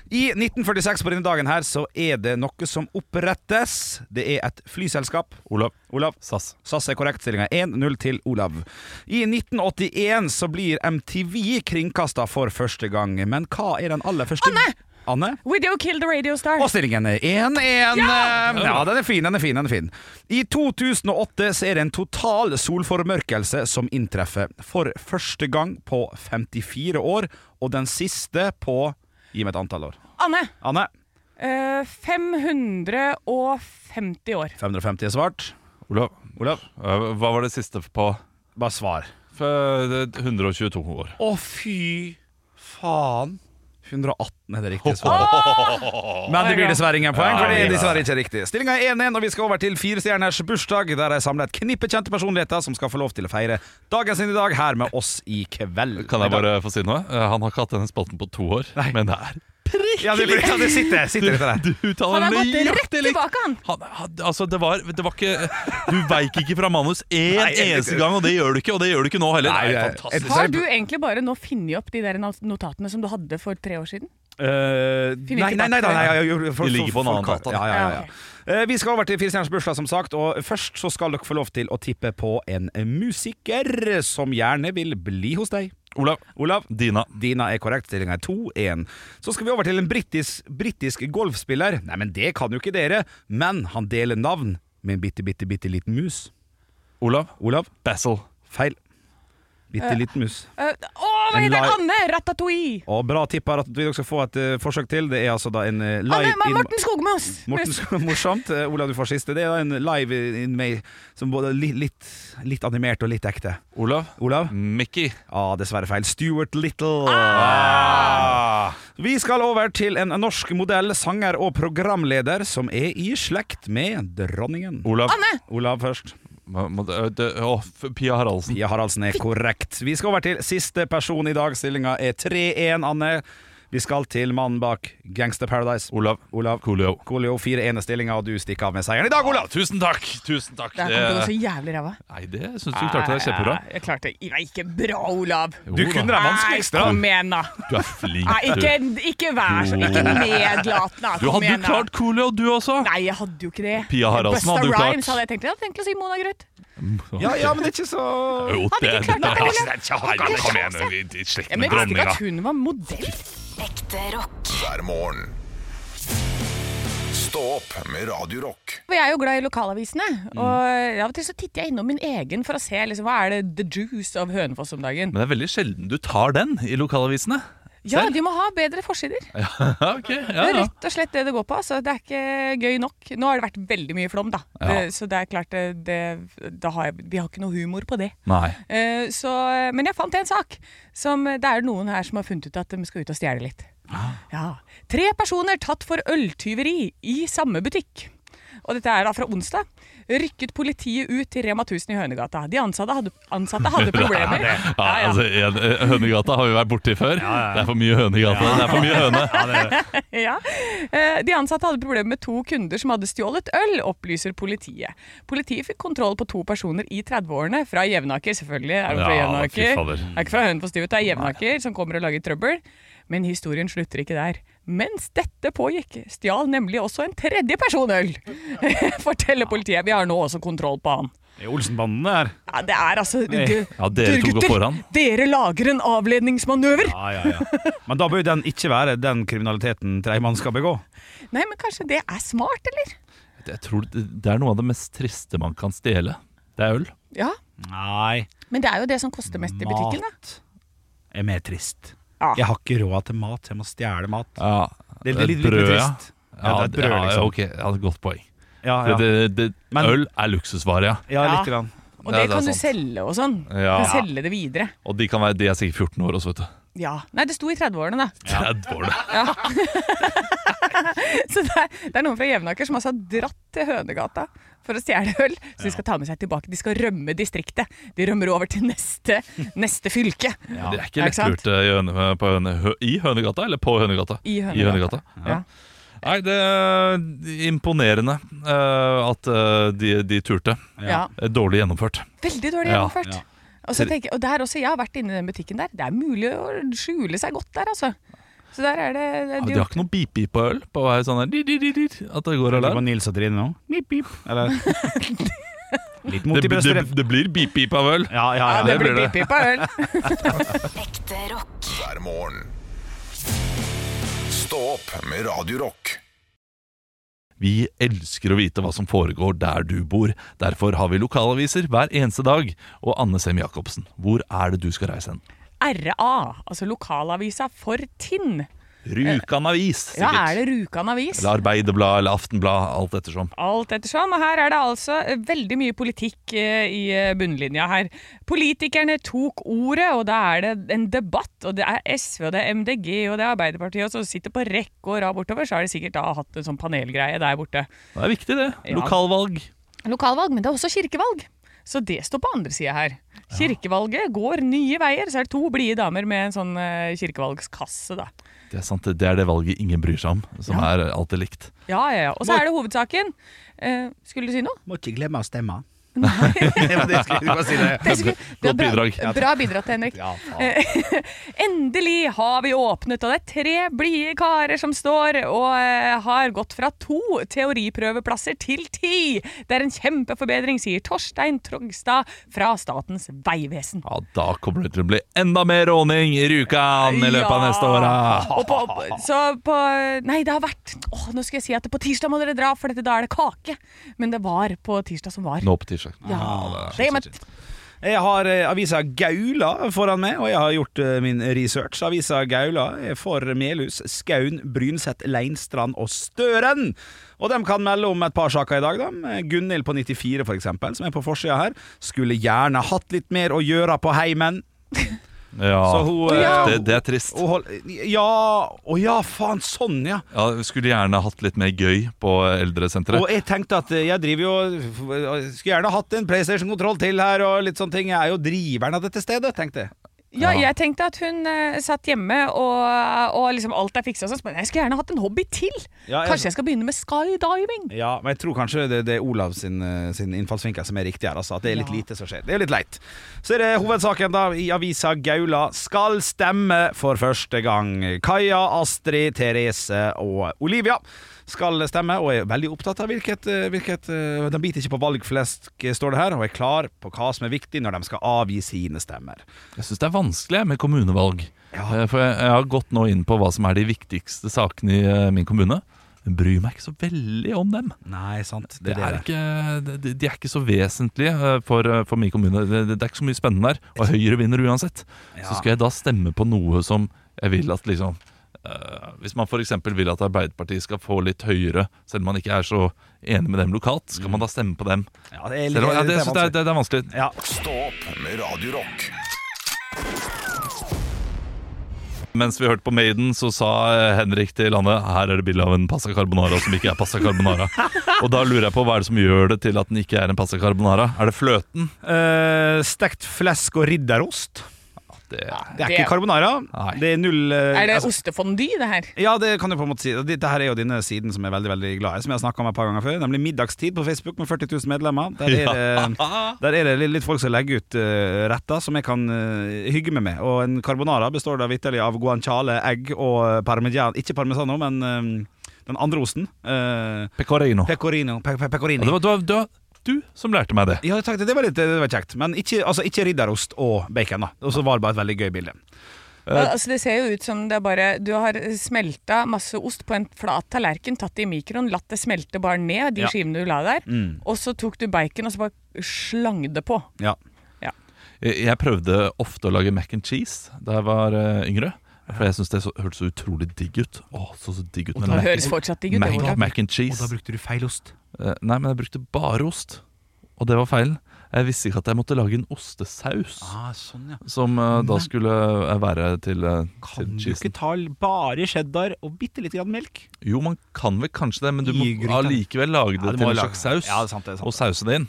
Speaker 2: I 1946 på denne dagen her så er det noe som opprettes. Det er et flyselskap.
Speaker 7: Olav
Speaker 2: Olav.
Speaker 7: Sass.
Speaker 2: SAS er korrekt. Stillinga 1-0 til Olav. I 1981 så blir MTV kringkasta for første gang. Men hva er den aller første
Speaker 1: Anne!
Speaker 2: Anne?
Speaker 1: Video Kill the Radio Star.
Speaker 2: Og stillingen er 1-1. Ja! den er fin, den er fin. den er fin I 2008 så er det en total solformørkelse som inntreffer. For første gang på 54 år, og den siste på Gi meg et antall år.
Speaker 1: Anne.
Speaker 2: Anne,
Speaker 1: eh, 550 år.
Speaker 2: 550 er svart.
Speaker 7: Olav.
Speaker 2: Olav,
Speaker 7: Eh, Hva var det siste på?
Speaker 2: bare svar.
Speaker 7: F- 122 år.
Speaker 2: Å, fy faen. 118 er det riktige svaret. Men det blir dessverre ingen poeng, for det er dessverre ikke riktig. Stillinga er 1-1, og vi skal over til firestjerners bursdag, der jeg samler et knippe kjente personligheter som skal få lov til å feire dagen sin i dag her med oss i kveld.
Speaker 7: Kan jeg bare få si noe? Eh, Han har ikke hatt denne spalten på to år, men det er
Speaker 2: Ja, det, blir, ja, det sitter, sitter dette der.
Speaker 7: Du uttaler
Speaker 1: Han har gått
Speaker 7: nøyaktig
Speaker 1: rett
Speaker 7: likt.
Speaker 1: tilbake, han.
Speaker 7: Han, han, altså det var, det var ikke Du veik ikke fra manus én
Speaker 2: Nei, jeg-
Speaker 7: eneste gang, og det gjør du ikke. Og det gjør du ikke nå heller.
Speaker 2: Nei,
Speaker 7: Det er
Speaker 2: jeg-
Speaker 7: fantastisk.
Speaker 2: jeg-
Speaker 1: Har du egentlig bare nå funnet opp de der not- notatene som du hadde for tre år siden?
Speaker 2: Eh,
Speaker 1: Finner
Speaker 2: nei,
Speaker 1: ikke
Speaker 2: nei, nei, nei,
Speaker 1: dato.
Speaker 2: nei, jeg gjorde- for-
Speaker 7: Vi ligger på
Speaker 2: for-
Speaker 7: en annen
Speaker 2: for-
Speaker 7: dato.
Speaker 2: Ja, ja, ja, ja.
Speaker 1: Ja, Ah, ok.
Speaker 2: Eh, Vi skal over til Fire stjerners bursdag, som sagt. Og først så skal dere få lov til å tippe på en musiker som gjerne vil bli hos deg.
Speaker 7: Olav.
Speaker 2: Olav?
Speaker 7: Dina.
Speaker 2: Dina er korrekt. Stillinga er 2-1. Så skal vi over til en britisk, britisk golfspiller. Nei, men det kan jo ikke dere. Men han deler navn med en bitte, bitte, bitte liten mus.
Speaker 7: Olav.
Speaker 2: Olav?
Speaker 7: Basil.
Speaker 2: Feil. Bitte liten mus.
Speaker 1: Eh, Å, hva
Speaker 2: En
Speaker 1: heter
Speaker 2: live-
Speaker 1: han? Anne? Ratatouille.
Speaker 2: Og bra tippa at dere skal få et eh, forsøk til. Det er altså da en eh, live
Speaker 1: Anne,
Speaker 2: in-
Speaker 1: Morten Skogmos.
Speaker 2: Morten, så morsomt. Eh, Olav, du får siste. Det er da en live in May som både li, litt, litt animert og litt ekte.
Speaker 7: Olav.
Speaker 2: Olav?
Speaker 7: Mickey.
Speaker 2: Ah, dessverre feil. Stuart Little. Vi skal over til en norsk modell, sanger og programleder som er i slekt med dronningen.
Speaker 7: Olav.
Speaker 1: Anne.
Speaker 2: Olav først.
Speaker 7: Hva- må det- ø, det- å, f- Pia Haraldsen.
Speaker 2: Pia Haraldsen er korrekt. Vi skal over til siste person i dag. Stillinga er 3-1, Anne. Vi skal til mannen bak Gangster Paradise.
Speaker 7: Olav.
Speaker 2: Olav
Speaker 7: Coolio.
Speaker 2: Kolio, 4-1-stillinga, og du stikker av med seieren i dag,
Speaker 7: Ja,
Speaker 2: Olav!
Speaker 7: tusen takk! Tusen takk.
Speaker 1: Der kom det noe så jævlig ræva.
Speaker 7: nei, det syns du klarte deg kjempebra.
Speaker 1: Nei, Jeg klarte det Nei, ikke bra, Olav.
Speaker 2: Du
Speaker 7: Jo da.
Speaker 2: kunne det vanskeligste.
Speaker 1: Nei,
Speaker 2: da.
Speaker 1: Kom igjen, da.
Speaker 7: Du er flink,
Speaker 1: Nei,
Speaker 7: du.
Speaker 1: ikke, ikke vær så Ikke nedlatende.
Speaker 7: Du
Speaker 1: Kom
Speaker 7: hadde jo
Speaker 1: igjen, da.
Speaker 7: klart Coolio, du også.
Speaker 1: Nei, jeg hadde jo ikke det.
Speaker 7: Pia Haraldsen
Speaker 1: Busta
Speaker 7: hadde jo klart.
Speaker 1: Rhymes hadde jeg tenkt. Jeg hadde tenkt å si Mona Grøth.
Speaker 2: Ja, ja, men det er ikke så
Speaker 7: Jo,
Speaker 1: Hadde
Speaker 7: det-
Speaker 1: ikke klart det,
Speaker 7: Nei,
Speaker 1: Coolio.
Speaker 7: nei, men Kom igjen, vi- vi- slekt
Speaker 1: Ja, men jeg visste ikke
Speaker 7: med dronninga.
Speaker 1: at hun var modell.
Speaker 5: Ekte rock.
Speaker 6: Hver morgen. Stå opp med Radio Rock.
Speaker 1: For jeg er jo glad i lokalavisene.
Speaker 7: Mm.
Speaker 1: Og av og til så titter jeg innom min egen for å se liksom, hva er det The Juice av Hønefoss om dagen.
Speaker 7: Men det er veldig sjelden du tar den i lokalavisene.
Speaker 1: Ja,
Speaker 7: Selv?
Speaker 1: de må ha bedre forsider.
Speaker 7: Ja, ok, ja,
Speaker 1: Det er
Speaker 7: ja.
Speaker 1: rett og slett det det går på. Så det er ikke gøy nok. Nå har det vært veldig mye flom, da.
Speaker 7: Ja.
Speaker 1: Det, så det er klart eh, det, det, da har jeg, Vi har ikke noe humor på det.
Speaker 7: Nei.
Speaker 1: Eh, så, men jeg fant en sak som eh, det er noen her som har funnet ut at de skal ut og stjele litt.
Speaker 7: Ah.
Speaker 1: Ja. Tre personer tatt for øltyveri i samme butikk. Og dette er da fra onsdag. Rykket politiet ut til Rema 1000 i Hønegata. De ansatte hadde, ansatte hadde problemer.
Speaker 7: Ja, altså, en- eh, Hønegata har vi vært borti før. Det er for mye hønegata. Det er for mye høne.
Speaker 1: ja. Eh, De ansatte hadde problemer med to kunder som hadde stjålet øl, opplyser politiet. Politiet fikk kontroll på to personer i 30-årene fra Jevnaker, selvfølgelig. Er de fra
Speaker 7: Ja, fy
Speaker 1: Jevnaker?
Speaker 7: fader.
Speaker 1: Det er ikke fra Hønefoss, de vet, det er Jevnaker som kommer og lager trøbbel. Men historien slutter ikke der. Mens dette pågikk, stjal nemlig også en tredje person øl, forteller politiet. Vi har nå også kontroll på han.
Speaker 2: Det er Olsenbanden der.
Speaker 1: Ja, det er altså du,
Speaker 7: Ja, dere
Speaker 1: du,
Speaker 7: to går
Speaker 1: gutter,
Speaker 7: foran.
Speaker 1: Dere lager en avledningsmanøver.
Speaker 2: Ja, ja, ja. Men da bør jo den ikke være den kriminaliteten Treimann skal begå.
Speaker 1: Nei, men kanskje det er smart, eller?
Speaker 7: Jeg tror det det er noe av det mest triste man kan stjele. Det er øl.
Speaker 1: Ja,
Speaker 2: Nei,
Speaker 1: Men det er jo det som koster mest i butikken, da.
Speaker 2: mat er mer trist.
Speaker 1: Ja.
Speaker 2: Jeg har ikke råd til mat, jeg må stjele mat.
Speaker 7: Ja,
Speaker 2: Det er litt, litt, litt trist. Ja,
Speaker 7: Ja,
Speaker 2: det er et brød,
Speaker 7: ja,
Speaker 2: liksom.
Speaker 7: ok, ja, godt poeng.
Speaker 2: Ja,
Speaker 7: For
Speaker 2: ja.
Speaker 7: Det, det,
Speaker 2: Men-
Speaker 7: øl er luksusvare, ja.
Speaker 2: ja
Speaker 1: Ja.
Speaker 2: litt. Grann.
Speaker 1: Og
Speaker 7: Ja,
Speaker 1: det,
Speaker 7: det er
Speaker 1: kan du
Speaker 7: sant.
Speaker 1: selge og sånn.
Speaker 7: Ja.
Speaker 1: Du kan selge det videre.
Speaker 7: Og de, kan være, de er sikkert 14 år også, vet du.
Speaker 1: Ja. Nei, det sto i 30-årene, da.
Speaker 7: 30 år, da.
Speaker 1: Så det er, det er noen fra Jevnaker som altså har dratt til Hønegata for å stjele øl. Så de skal ta med seg tilbake. De skal rømme distriktet. De rømmer over til neste, neste fylke.
Speaker 7: Det er ikke
Speaker 1: Ikke sant?
Speaker 7: lettlurt eh, i Høne- på Høne- Hø- i Hønegata, eller på Hønegata?
Speaker 1: I Hønegata.
Speaker 7: Ja.
Speaker 1: Ja.
Speaker 7: Nei, det er imponerende eh, at eh, de, de turte.
Speaker 1: Ja.
Speaker 7: Eh, Dårlig gjennomført.
Speaker 1: Veldig dårlig
Speaker 7: Ja,
Speaker 1: gjennomført.
Speaker 2: ja.
Speaker 1: Og, så tenker, jeg- og der også, jeg har vært inne i den butikken der. Det er mulig å skjule seg godt der, altså. Så der er det,
Speaker 7: Ja,
Speaker 1: det
Speaker 7: de har ikke noe beep-beep på øl på vei sånn her di, di, di, di, At det går
Speaker 2: Det var
Speaker 7: alarm.
Speaker 2: Nils og Trine nå. Mip, mip. Eller Litt mot i
Speaker 7: Det, det,
Speaker 2: brystet.
Speaker 7: det, blir beep-beep av øl.
Speaker 2: Ja, ja,
Speaker 1: ja,
Speaker 2: ja.
Speaker 1: det
Speaker 7: det
Speaker 1: blir
Speaker 7: blir det.
Speaker 1: pip-pip av øl.
Speaker 5: Ekte rock.
Speaker 6: hver morgen. Stå opp med Radio Rock.
Speaker 7: Vi elsker å vite hva som foregår der du bor. Derfor har vi lokalaviser hver eneste dag. Og Anne Sem Jacobsen, hvor er det du skal reise hen?
Speaker 1: RA, altså lokalavisa for Tinn.
Speaker 7: Rjukan Avis, sikkert.
Speaker 1: Ja, er det Rjukan avis?
Speaker 7: Eller Arbeiderblad eller Aftenblad, alt ettersom.
Speaker 1: Alt ettersom. Og her er det altså eh, veldig mye politikk eh, i eh, bunnlinja her. Politikerne tok ordet, og da er det en debatt. Og det er SV, og det er MDG, og det er Arbeiderpartiet, og så sitter på rekke og rad bortover. Så har de sikkert da hatt en sånn panelgreie der borte.
Speaker 7: Det er viktig, det.
Speaker 1: Ja.
Speaker 7: Lokalvalg.
Speaker 1: Lokalvalg, men det er også kirkevalg. Så det står på andre sida her. Kirkevalget går nye veier, så er det to blide damer med en sånn eh, kirkevalgskasse, da.
Speaker 7: Det er sant, det er det valget ingen bryr seg om, som er alltid likt.
Speaker 1: Ja, ja, ja. Og så er det hovedsaken. Eh, skulle du si noe?
Speaker 2: Må ikke glemme å stemme. det var det jeg skulle bare si det.
Speaker 1: Det skulle-
Speaker 7: Godt
Speaker 1: det var bra-
Speaker 7: bidrag.
Speaker 1: Bra bidratt, Henrik.
Speaker 2: Ja, faen.
Speaker 1: Endelig har vi åpnet, og det er tre blide karer som står og eh, har gått fra to teoriprøveplasser til ti. Det er en kjempeforbedring, sier Torstein Trogstad fra Statens vegvesen.
Speaker 7: Ja, Da kommer det til å bli enda mer råning i Rjukan i løpet av neste åra.
Speaker 1: Og på, så på Nei, det har vært Åh, nå skulle jeg si at på tirsdag må dere dra, for dette, da er det kake. Men det var på tirsdag som var.
Speaker 7: Nå på tirsdag.
Speaker 1: Ja,
Speaker 7: Ah, det er
Speaker 1: damn it.
Speaker 7: shit.
Speaker 2: Jeg har eh, avisa Gaula foran meg, og jeg har gjort eh, min research. Avisa Gaula er for Melhus, Skaun, Brynset, Leinstrand og Støren. Og de kan melde om et par saker i dag. Da. Gunhild på 94, for eksempel, som er på forsida her, skulle gjerne hatt litt mer å gjøre på heimen.
Speaker 7: Ja.
Speaker 2: Så hun, eh,
Speaker 1: Ja.
Speaker 7: Det, det er trist.
Speaker 2: hun hold, ja Å ja, faen, sånn, ja.
Speaker 7: Ja, vi skulle gjerne hatt litt mer gøy på eldresenteret.
Speaker 2: Og jeg tenkte at eh, jeg driver jo Skulle gjerne hatt en PlayStation-kontroll til her, og litt sånne ting. Jeg er jo driveren av dette stedet, tenkte jeg.
Speaker 1: Ja,
Speaker 7: Ja.
Speaker 1: jeg tenkte at hun eh, satt hjemme og, og liksom alt er fiksa og sånn. Men jeg skulle gjerne hatt en hobby til.
Speaker 2: Ja, jeg-
Speaker 1: Kanskje jeg skal begynne med skydiving?
Speaker 2: Ja, men jeg tror kanskje det, det er Olav sin, eh, sin innfallsvinkel som er riktig her. Altså, at det er litt
Speaker 1: Ja.
Speaker 2: lite som skjer. Det er litt leit. Så er det hovedsaken da i avisa Gaula. Skal stemme for første gang. Kaja, Astrid, Therese og Olivia skal stemme, og er veldig opptatt av hvilket, eh, hvilket eh, De biter ikke på valgflesk, eh, står det her, og er klar på hva som er viktig når de skal avgi sine stemmer.
Speaker 7: Jeg syns det er vanskelig jeg, med kommunevalg. Eh, For jeg, jeg har gått nå inn på hva som er de viktigste sakene i eh, min kommune. Jeg bryr meg ikke så veldig om dem.
Speaker 2: Nei, sant.
Speaker 7: Det er ikke, de, de er ikke så vesentlige eh, for, eh, for min kommune. Det, det er ikke så mye spennende der. Og Høyre vinner uansett.
Speaker 2: Ja.
Speaker 7: Så skal jeg da stemme på noe som jeg vil at liksom eh, Hvis man f.eks. vil at Arbeiderpartiet skal få litt høyere, selv om man ikke er så enig med dem lokalt, skal man da stemme på dem?
Speaker 2: Ja, det er,
Speaker 7: Selv om, ja, Mm. det,
Speaker 2: det er
Speaker 7: det,
Speaker 2: vanskelig.
Speaker 7: er, det er vanskelig.
Speaker 2: Ja.
Speaker 6: Stå opp med Radio Rock.
Speaker 7: Mens vi hørte på Maiden, så sa eh, Henrik til Anne Her er det bilde av en pasta carbonara som ikke er pasta carbonara. Og da lurer jeg på hva er det som gjør det til at den ikke er en pasta carbonara? Er det fløten?
Speaker 2: Eh, stekt flesk og ridderost.
Speaker 7: Det,
Speaker 2: Det er
Speaker 1: Det-
Speaker 2: ikke carbonara.
Speaker 7: Nei.
Speaker 2: Det er null eh,
Speaker 1: Er det
Speaker 2: altså- Eh.
Speaker 1: ostefondy, det her?
Speaker 2: Ja, det kan du på en måte si. Dette her er jo denne siden som jeg er veldig veldig glad i, som jeg har snakka om et par ganger før, nemlig Middagstid på Facebook med 40 000 medlemmer. Der er det, eh, der er det litt- litt folk som legger ut eh, retter som jeg kan eh, hygge meg med. Og en carbonara består da vitterlig av guanciale, egg og parmesan Ikke parmesano, men eh, den andre osten. eh,
Speaker 7: Pecorino.
Speaker 2: pecorino. Pe pe
Speaker 7: Ja, det
Speaker 2: pecorino.
Speaker 7: var, det var, det var du som lærte meg det.
Speaker 2: Ja, takk, det var litt det var kjekt. Men ikke, altså, ikke ridderost og bacon, da. Og så var det bare et veldig gøy bilde.
Speaker 1: Al- Altså, det ser jo ut som det er bare Du har smelta masse ost på en flat tallerken, tatt det i mikroen, latt det smelte bare ned, de
Speaker 2: Ja. Mm.
Speaker 1: skivene du la der. Og så tok du bacon og så bare slang det på.
Speaker 2: Ja.
Speaker 7: Jeg jeg prøvde ofte å lage mac and cheese da jeg var eh, yngre. For jeg syns det så, hørtes så utrolig digg ut. Åh, så, så digg ut med
Speaker 1: Det
Speaker 7: mac,
Speaker 1: høres fortsatt digg ut. det,
Speaker 7: mac,
Speaker 1: Olav.
Speaker 7: mac and cheese.
Speaker 2: brukte du feil ost.
Speaker 7: Eh, Nei, men jeg brukte bare ost. Og det var feilen. Jeg visste ikke at jeg måtte lage en ostesaus.
Speaker 2: Ah, sånn, ja.
Speaker 7: Som eh, da skulle eh, være til, eh, til
Speaker 2: Kan du ikke
Speaker 7: cheesen.
Speaker 2: ta bare cheddar og bitte litt grann melk?
Speaker 7: Jo, man kan vel kanskje det, men du må
Speaker 2: I gryta.
Speaker 7: allikevel lage det
Speaker 2: du
Speaker 7: til
Speaker 2: må
Speaker 7: en
Speaker 2: lage-
Speaker 7: slags saus.
Speaker 2: Ja, det er sant, det er sant.
Speaker 7: Og sause det inn.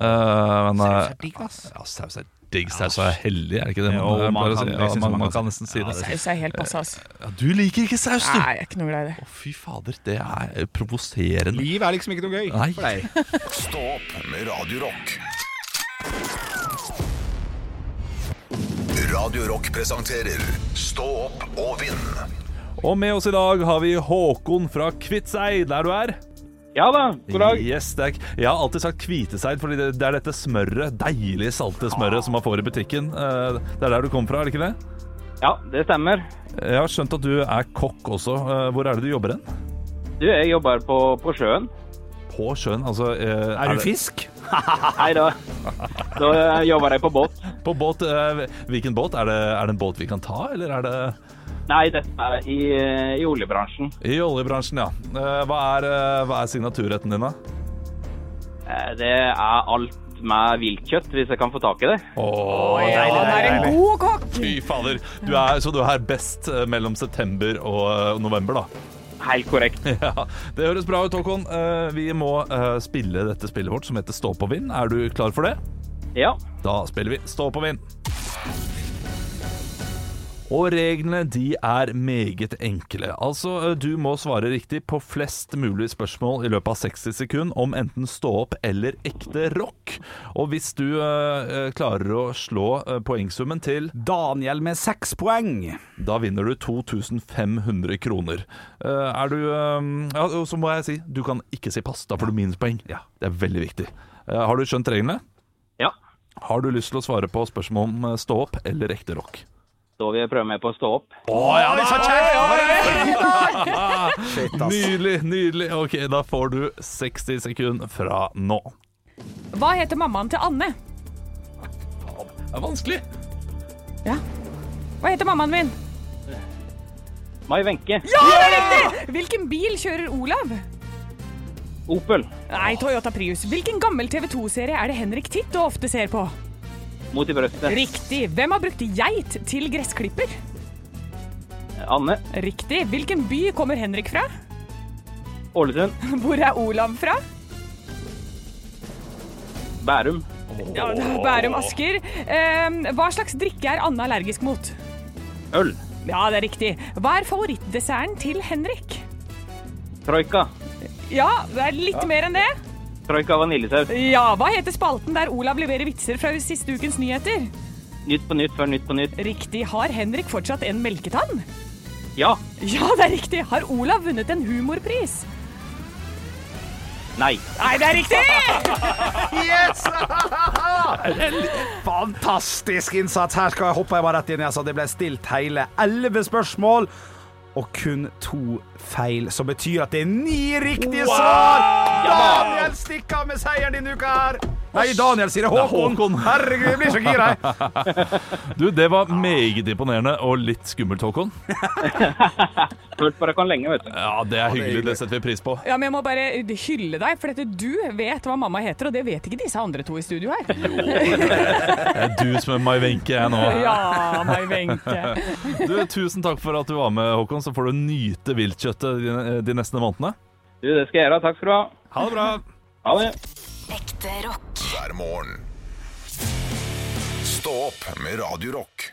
Speaker 7: Eh, men, eh,
Speaker 2: Saus er digg, ass.
Speaker 7: Ja, saus er digg. Saus er hellig, er det ikke det?
Speaker 2: Jo,
Speaker 7: jeg
Speaker 2: man
Speaker 7: pleier å
Speaker 2: kan-
Speaker 7: si?
Speaker 2: jeg
Speaker 7: ja,
Speaker 2: synes
Speaker 7: man,
Speaker 2: man
Speaker 7: man
Speaker 2: kan
Speaker 7: kan
Speaker 2: si-
Speaker 7: nesten si det.
Speaker 1: Saus er helt passe, ass.
Speaker 7: Ja, du liker ikke saus,
Speaker 2: Eh,
Speaker 7: du!
Speaker 1: Nei, jeg er ikke noe glad i det.
Speaker 7: Å, fy fader, det er eh, provoserende.
Speaker 2: Liv er liksom ikke noe gøy
Speaker 7: Nei.
Speaker 2: for deg.
Speaker 6: Stå opp med Radio Rock. Radio Rock presenterer Stå opp og vinn.
Speaker 7: Og med oss i dag har vi Håkon fra Kviteseid, der du er.
Speaker 8: Ja da, god dag.
Speaker 7: Yes, det er, jeg har alltid sagt Kviteseid, fordi det, det er dette smøret, deilige, salte smøret som man får i butikken. Eh, Det er der du kommer fra, er det ikke det?
Speaker 8: Ja, det stemmer.
Speaker 7: Jeg har skjønt at du er kokk også. Eh, Hvor er det du jobber hen?
Speaker 8: Du, jeg jobber på, på sjøen.
Speaker 7: På sjøen, altså eh,
Speaker 2: Er
Speaker 7: det-
Speaker 2: du fisk?
Speaker 8: Nei da, da eh, jobber jeg på båt.
Speaker 7: På båt. eh, Hvilken båt? Er det, er det en båt vi kan ta, eller er det
Speaker 8: Nei, dette er i, eh, i oljebransjen.
Speaker 7: I oljebransjen, ja. Eh, Hva er, eh, hva er signaturretten din, da?
Speaker 8: Eh, Det er alt med viltkjøtt, hvis jeg kan få tak i det.
Speaker 7: Åh,
Speaker 1: Ja, han er en god kokk!
Speaker 7: Fy fader. Du er, så du er best eh, mellom september og eh, november, da.
Speaker 8: Helt korrekt.
Speaker 7: Ja, Det høres bra ut, Håkon. Eh, Vi må eh, spille dette spillet vårt som heter Stå på vind. Er du klar for det?
Speaker 8: Ja.
Speaker 7: Da spiller vi Stå på vind. Og reglene de er meget enkle. Altså, du må svare riktig på flest mulig spørsmål i løpet av 60 sekunder om enten stå opp eller ekte rock. Og hvis du eh, eh, klarer å slå eh, poengsummen til,
Speaker 2: Daniel med seks poeng.
Speaker 7: da vinner du 2500 kroner. Eh, er du eh, Ja, og så må jeg si, du kan ikke si pass. Da får du minuspoeng. Det er veldig viktig. Eh, har du skjønt reglene?
Speaker 8: Ja.
Speaker 7: Har du lyst til å svare på spørsmål om eh, stå opp eller ekte rock?
Speaker 8: Da vil jeg prøve meg på å stå opp.
Speaker 7: Nydelig, nydelig. Ok, da får du 60 sekunder fra nå.
Speaker 1: Hva heter mammaen til Anne?
Speaker 7: Det er vanskelig.
Speaker 1: Hva heter mammaen min?
Speaker 8: Mai Wenche.
Speaker 1: Ja, det er riktig! Hvilken bil kjører Olav?
Speaker 8: Opel.
Speaker 1: Nei, Toyota Prius. Hvilken gammel TV 2-serie er det Henrik titt og ofte ser på?
Speaker 8: Mot i brøstet.
Speaker 1: Riktig. Hvem har brukt geit til gressklipper?
Speaker 8: Anne.
Speaker 1: Riktig. Hvilken by kommer Henrik fra?
Speaker 8: Ålesund.
Speaker 1: Hvor er Olav fra?
Speaker 8: Bærum.
Speaker 1: Ja, det er Bærum Asker. Ehm, hva slags drikke er Anne allergisk mot?
Speaker 8: Øl.
Speaker 1: Ja, det er riktig. Hva er favorittdesserten til Henrik?
Speaker 8: Troika.
Speaker 1: Ja, det er litt mer enn det.
Speaker 8: Troika vaniljesaus.
Speaker 1: Ja, hva heter spalten der Olav leverer vitser fra siste ukens nyheter?
Speaker 8: Nytt på nytt før Nytt på nytt.
Speaker 1: Riktig. Har Henrik fortsatt en melketann?
Speaker 8: Ja.
Speaker 1: Ja, det er riktig. Har Olav vunnet en humorpris?
Speaker 8: Nei.
Speaker 1: Nei, det er riktig!
Speaker 2: Fantastisk innsats. Her skal jeg hoppe jeg bare rett inn. i, Altså, det ble stilt hele elleve spørsmål. Og kun to feil, som betyr at det er ni riktige svar! Daniel stikker av med seieren denne uka her. Nei, Daniel sier det. Håkon.
Speaker 7: Håkon.
Speaker 2: Herregud, jeg blir så gira. jeg.
Speaker 7: Du, det var meget imponerende og litt skummelt, Håkon.
Speaker 8: Hørt på dere lenge, vet du.
Speaker 7: Ja, det er hyggelig. Det setter vi pris på.
Speaker 1: Ja, men Jeg må bare hylle deg, for dette, du vet hva mamma heter, og det vet ikke disse andre to i studio her.
Speaker 7: Det er du som er Mai Wenche, jeg nå.
Speaker 1: Ja, Mai Wenche.
Speaker 7: Du, tusen takk for at du var med, Håkon. Så får du nyte viltkjøttet de- de neste månedene.
Speaker 8: Du, det skal jeg gjøre. Takk skal du ha.
Speaker 7: Ha det bra.
Speaker 8: Ha det.
Speaker 5: Ekte rock.
Speaker 6: Hver morgen. Stå opp med Radio Rock.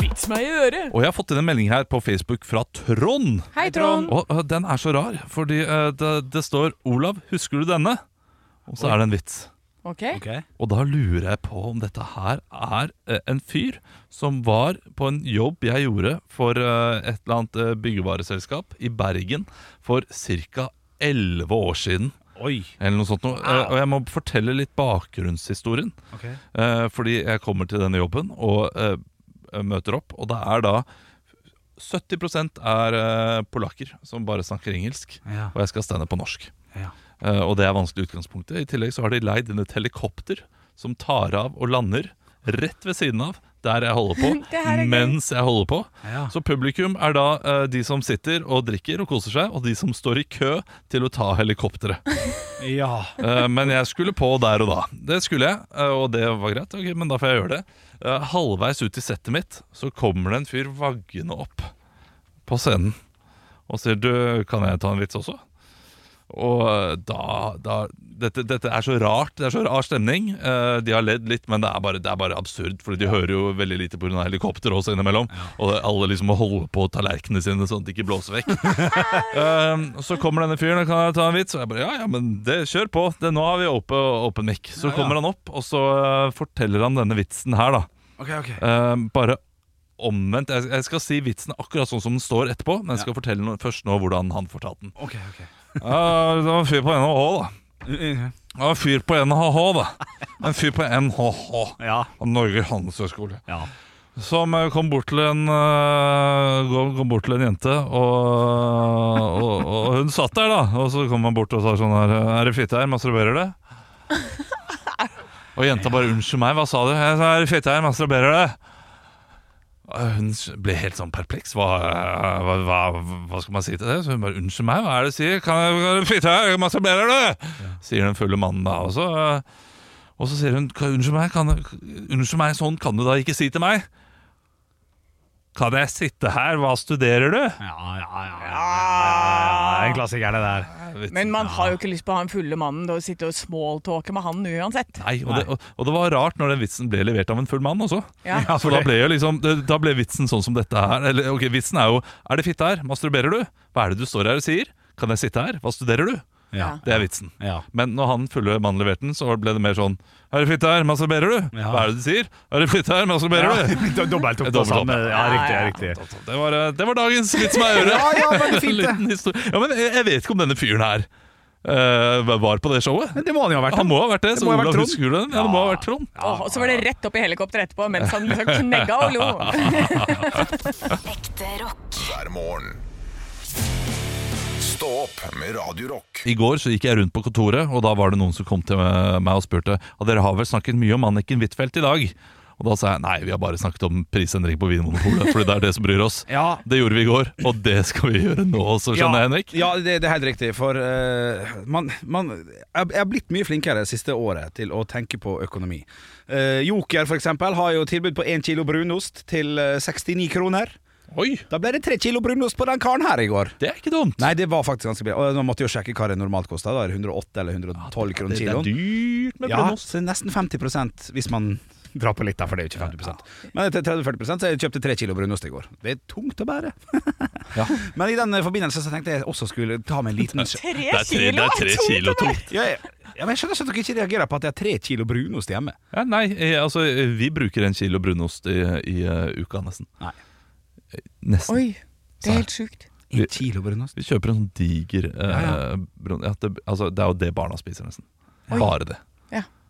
Speaker 1: Vits meg i øret.
Speaker 7: Og jeg har fått inn en melding her på Facebook fra Trond.
Speaker 1: Hei, Trond.
Speaker 7: Og øh, den er så rar, fordi øh, det, det står 'Olav, husker du denne?' Og så er det en vits.
Speaker 1: Ok.
Speaker 7: Og da lurer jeg på om dette her er eh, en fyr som var på en jobb jeg gjorde for eh, et eller annet eh, byggevareselskap i Bergen for ca. 11 år siden.
Speaker 2: Oi.
Speaker 7: Eller noe sånt noe. Eh, Og jeg må fortelle litt bakgrunnshistorien. Eh, Fordi jeg kommer til denne jobben og eh, møter opp, og det er da 70 er eh, polakker som bare snakker engelsk,
Speaker 2: Ja.
Speaker 7: og jeg skal stande på norsk.
Speaker 2: Ja.
Speaker 7: Eh, Og det er vanskelig utgangspunktet. I tillegg så har de leid inn et helikopter som tar av og lander rett ved siden av der jeg holder
Speaker 1: Det
Speaker 7: på,
Speaker 1: her er gøy.
Speaker 7: mens jeg holder på.
Speaker 2: Ja.
Speaker 7: Så publikum er da eh, de som sitter og drikker og koser seg, og de som står i kø til å ta helikopteret.
Speaker 2: Ja.
Speaker 7: Eh, men jeg skulle på der og da. Det skulle jeg, eh, og det var greit. Ok, men da får jeg gjøre det. Eh, halvveis ut i settet mitt så kommer det en fyr vaggende opp på scenen og sier du, kan jeg ta en vits også? Og eh, da, da dette, dette er så rart. Det er så rar stemning. Eh, de har ledd litt, men det er bare, det er bare absurd. Fordi de hører jo veldig lite pga. helikopter også innimellom. Og alle liksom må holde på tallerkenene sine sånn at de ikke blåser vekk. Ehm, og så kommer denne fyren og kan jeg ta en vits. Og jeg bare ja, ja, men det, kjør på. Det, nå har vi open, open mic. Så kommer han opp, og så eh, forteller han denne vitsen her, da.
Speaker 2: Ok, ok.
Speaker 7: Ehm, bare omvendt. Jeg, jeg skal si vitsen akkurat sånn som den står etterpå, men jeg skal fortelle noe, først nå hvordan han fortalte den.
Speaker 2: Ok, ok.
Speaker 7: Ja, det var en fyr på NHH, da. Det var en fyr på NHH, da. En fyr på NHH.
Speaker 2: Ja.
Speaker 7: Norge Handelshøyskole.
Speaker 2: Ja.
Speaker 7: Som eh, kom bort til en, eh, kom- kom bort til en jente, og, eh, og, og hun satt der, da. Og så kom han bort og sa sånn her Er det fitte her? Masturberer det? Og jenta bare 'Unnskyld meg, hva sa du?' Jeg sa 'Er det fitte her? Masturberer det?' Og Hun ble helt sånn perpleks. Hva, hva, hva, hva skal man si til det? Så hun bare 'Unnskyld meg, hva er det du sier?' 'Kan jeg- kan jeg fitte her? Masturberer det?' Sier den fulle mannen da også. eh, og så sier hun «Ka- Unnskyld meg, kan, unnskyld meg, sånn kan du da ikke si til meg Kan jeg sitte her, hva studerer du?
Speaker 2: Ja, ja, ja, ja, ja, ja. En klassiker, det
Speaker 1: Ah.
Speaker 2: der.
Speaker 1: Men man har jo ikke lyst på han fulle mannen til å sitte og smalltalke med han uansett.
Speaker 7: Nei, og det, og, og det var rart når den vitsen ble levert av en full mann også
Speaker 1: Ja.
Speaker 2: Ja,
Speaker 7: Så da ble, jo liksom, det- da ble vitsen sånn som dette her Eller, Ok, vitsen er jo Er det fitte her? Masturberer du? Hva er det du står her og sier? Kan jeg sitte her? Hva studerer du?
Speaker 2: Ja.
Speaker 7: Det er vitsen
Speaker 2: Ja.
Speaker 7: Men når han fulle mannen leverte den Så ble det mer sånn Er det fitte her? Masturberer du?
Speaker 2: Ja.
Speaker 7: Hva er det du sier? Er det fitte her? Masturberer du?
Speaker 2: Dobbelt opp på
Speaker 7: Dobbelt opp,
Speaker 2: samme.
Speaker 7: ja.
Speaker 2: Ja, riktig, ja, riktig.
Speaker 7: Det var, eh, det var dagens vits med øre.
Speaker 2: Ja, ja, veldig fint, det.
Speaker 7: Liten historie. ja, men eh, jeg jeg vet ikke om denne fyren her eh, var på det showet.
Speaker 2: Men det må han jo ha vært.
Speaker 7: Han må ha vært det,
Speaker 2: Det
Speaker 7: så
Speaker 2: må ha vært
Speaker 7: Olav
Speaker 2: Trond.
Speaker 7: husker den. Ja, det må ha vært Trond.
Speaker 1: Åh, og så var det rett opp i helikopteret etterpå mens han liksom knegga og lo.
Speaker 5: Ekte rock.
Speaker 6: hver morgen. Stå opp med Radio Rock.
Speaker 7: I går så gikk jeg rundt på kontoret, og da var det noen som kom til meg og spurte Og dere har vel snakket mye om Anniken Huitfeldt i dag? Og da sa jeg nei, vi har bare snakket om prisendring på Vinmonopolet, fordi det er det som bryr oss.
Speaker 2: Ja.
Speaker 7: Det gjorde vi i går, og det skal vi gjøre nå også, skjønner jeg, Henrik.
Speaker 2: Ja, det, det er helt riktig. For eh, man, man Jeg jeg har blitt mye flinkere det siste året til å tenke på økonomi. Eh, Joker for eksempel har jo tilbud på 1 kilo brunost til eh, 69 kroner.
Speaker 7: Oi,
Speaker 2: Da ble det 3 kilo brunost på den karen her i går.
Speaker 7: det er ikke dumt.
Speaker 2: Nei, det var faktisk ganske billig. Og Nå måtte jeg jo sjekke hva det normalt kosta. Da er det 108 eller 112 kroner
Speaker 7: det, det er
Speaker 2: kiloen.
Speaker 7: dyrt med
Speaker 2: Ja,
Speaker 7: brunost.
Speaker 2: så det er nesten 50 hvis man drar på litt, da, for det er jo ikke 50 Men til 30-40 så jeg kjøpte 3 kilo brunost i går. Det er tungt å bære.
Speaker 7: Ja.
Speaker 2: Men i den eh, forbindelse så tenkte jeg også skulle ta med en liten
Speaker 1: Tre
Speaker 7: Det er tre,
Speaker 1: kilo!
Speaker 7: det er tre kilo tungt.
Speaker 2: ja, ja. ja, men Jeg skjønner ikke at dere ikke reagerer på at jeg har tre kilo brunost hjemme.
Speaker 7: Ja, nei, eh, altså eh, vi bruker en kilo brunost i, i eh, uka nesten.
Speaker 2: Nei.
Speaker 7: Eh, Nesten.
Speaker 1: Oi, det er helt sjukt.
Speaker 2: En kilo brunost?
Speaker 7: Vi kjøper en sånn diger eh,
Speaker 2: Ja, ja.
Speaker 7: brun- ja, det, altså, det er jo det barna spiser nesten. Bare det.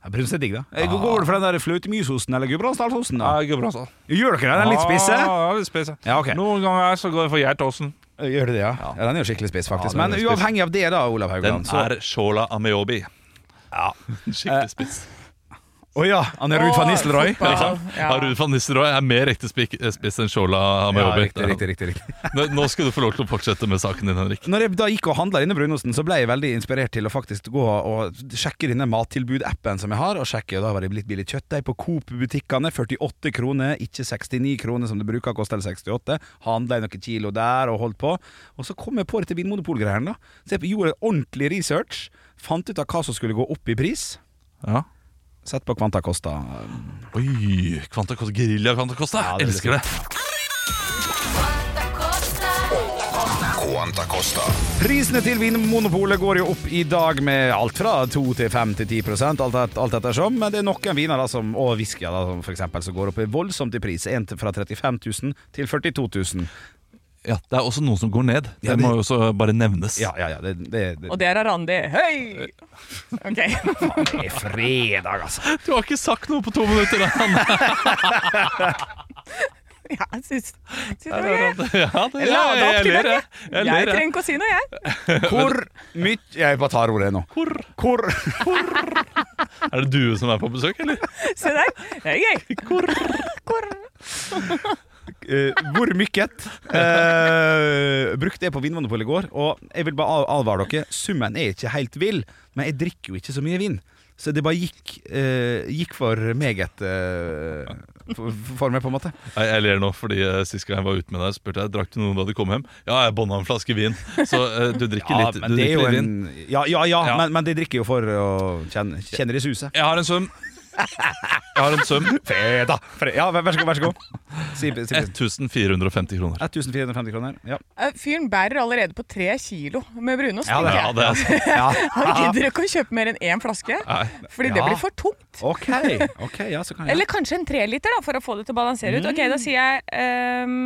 Speaker 2: Ja, brunost er digg, da. Eh, Går går det for den der flautemysosten eller gudbrandsdalsosten? da?
Speaker 7: Gudbrandsdal.
Speaker 2: Gjør dere den? Den er litt spisse?
Speaker 7: Ja, litt spisse.
Speaker 2: Ja, ok.
Speaker 7: Noen ganger så går det for Gjertåsen.
Speaker 2: Gjør det det, ja? ja? Den er jo skikkelig spiss, faktisk.
Speaker 7: Ja, den
Speaker 2: men
Speaker 7: er spiss.
Speaker 2: uavhengig av det, da, Olav
Speaker 7: Den
Speaker 2: Haugland.
Speaker 7: er Shola Ameobi. Ja.
Speaker 2: Eh,
Speaker 7: Skikkelig spiss.
Speaker 2: Å ja, han er Ruud van Nistelrooy.
Speaker 1: Å, fotball.
Speaker 7: Ja. Ruud van Nistelrooy er mer ekte spik- eh, spiss enn Shola
Speaker 2: Ja,
Speaker 7: Ameobi.
Speaker 2: riktig, riktig, riktig, riktig.
Speaker 7: Nå, nå skal du få lov til å fortsette med saken din, Henrik.
Speaker 2: Når jeg da gikk og handla denne brunosten, så ble jeg veldig inspirert til å faktisk gå og sjekke denne mattilbud-appen som jeg har. Og sjekke, og Da var det litt billig kjøttdeig på Coop-butikkene. 48 kroner, ikke 69 kroner som det bruker å koste, eller 68. Handla jeg noen kilo der og holdt på. Og så kom jeg på dette Vinmonopol-greiene. da. Så jeg gjorde ordentlig research. Fant ut av hva som skulle gå opp i pris.
Speaker 7: Ja.
Speaker 2: Sett på Kvanta Costa.
Speaker 7: Oi, Kvanta Costa, Guerilla Kvanta Costa.
Speaker 2: Ja, det er
Speaker 7: Elsker det.
Speaker 6: Quanta Costa.
Speaker 2: Prisene til Vinmonopolet går jo opp i dag med alt fra 2 til 5 til 10 prosent, alt, et- alt ettersom. Men det er noen viner da, som, og whisky da, som, for eksempel, som går opp voldsomt i pris. En til- fra 35 000 til 42 000.
Speaker 7: Ja, Det er også noen som går ned. Det,
Speaker 2: Ja, det-
Speaker 7: må jo også bare nevnes.
Speaker 2: Ja, ja, ja. Det, det, det,
Speaker 1: Og det er Randi. Høy! Ok.
Speaker 2: det er fredag, altså.
Speaker 7: Du har ikke sagt noe på to minutter! Da.
Speaker 1: Ja, jeg syns, syns det var gøy.
Speaker 7: Ja, det,
Speaker 1: Jeg la det opp til
Speaker 7: ler,
Speaker 1: deg.
Speaker 7: jeg. Jeg
Speaker 1: Jeg
Speaker 7: ler, jeg.
Speaker 1: trenger ikke å si noe, jeg.
Speaker 2: Hvor mye Jeg bare tar ordet nå. Hvor,
Speaker 7: Er det due som er på besøk, eller?
Speaker 1: Se der. Det er gøy. Korr.
Speaker 2: Eh, hvor mykket eh, brukte jeg på Vinmonopolet i går. Og jeg vil bare a- advare dere, summen er ikke helt vill, men jeg drikker jo ikke så mye vin. Så det bare gikk, eh, gikk for meget eh, for, for meg, på en måte.
Speaker 7: Nei, jeg ler nå, fordi eh, Sist gang jeg var ute med deg, spurte jeg drakk du noen da du kom hjem. Ja, jeg bånda en flaske vin. Så eh, du drikker
Speaker 2: Ja,
Speaker 7: litt,
Speaker 2: men
Speaker 7: du
Speaker 2: det er
Speaker 7: drikker
Speaker 2: jo
Speaker 7: litt vin.
Speaker 2: en, ja, ja, ja,
Speaker 7: Ja.
Speaker 2: Men, men de drikker jo for å kjenne, kjenne det i suset.
Speaker 7: Jeg har en sum. Jeg har en sum.
Speaker 2: Feda! Ja, vær vær så god. vær så god si, si,
Speaker 7: 1450 kroner.
Speaker 2: 1450 kroner. Ja.
Speaker 1: Eh, Fyren bærer allerede på tre kilo med brunost.
Speaker 2: Ja, det- altså.
Speaker 1: tenker
Speaker 7: Ja,
Speaker 1: jeg.
Speaker 7: det er
Speaker 1: Han gidder ikke å kjøpe mer enn én flaske,
Speaker 7: Nei.
Speaker 1: fordi det
Speaker 2: Ja.
Speaker 1: blir for tungt.
Speaker 2: Ok, ok, ja, Mm. så kan jeg
Speaker 1: Eller kanskje en treliter, da, for å få det til å balansere ut. Ok, da sier jeg ehm,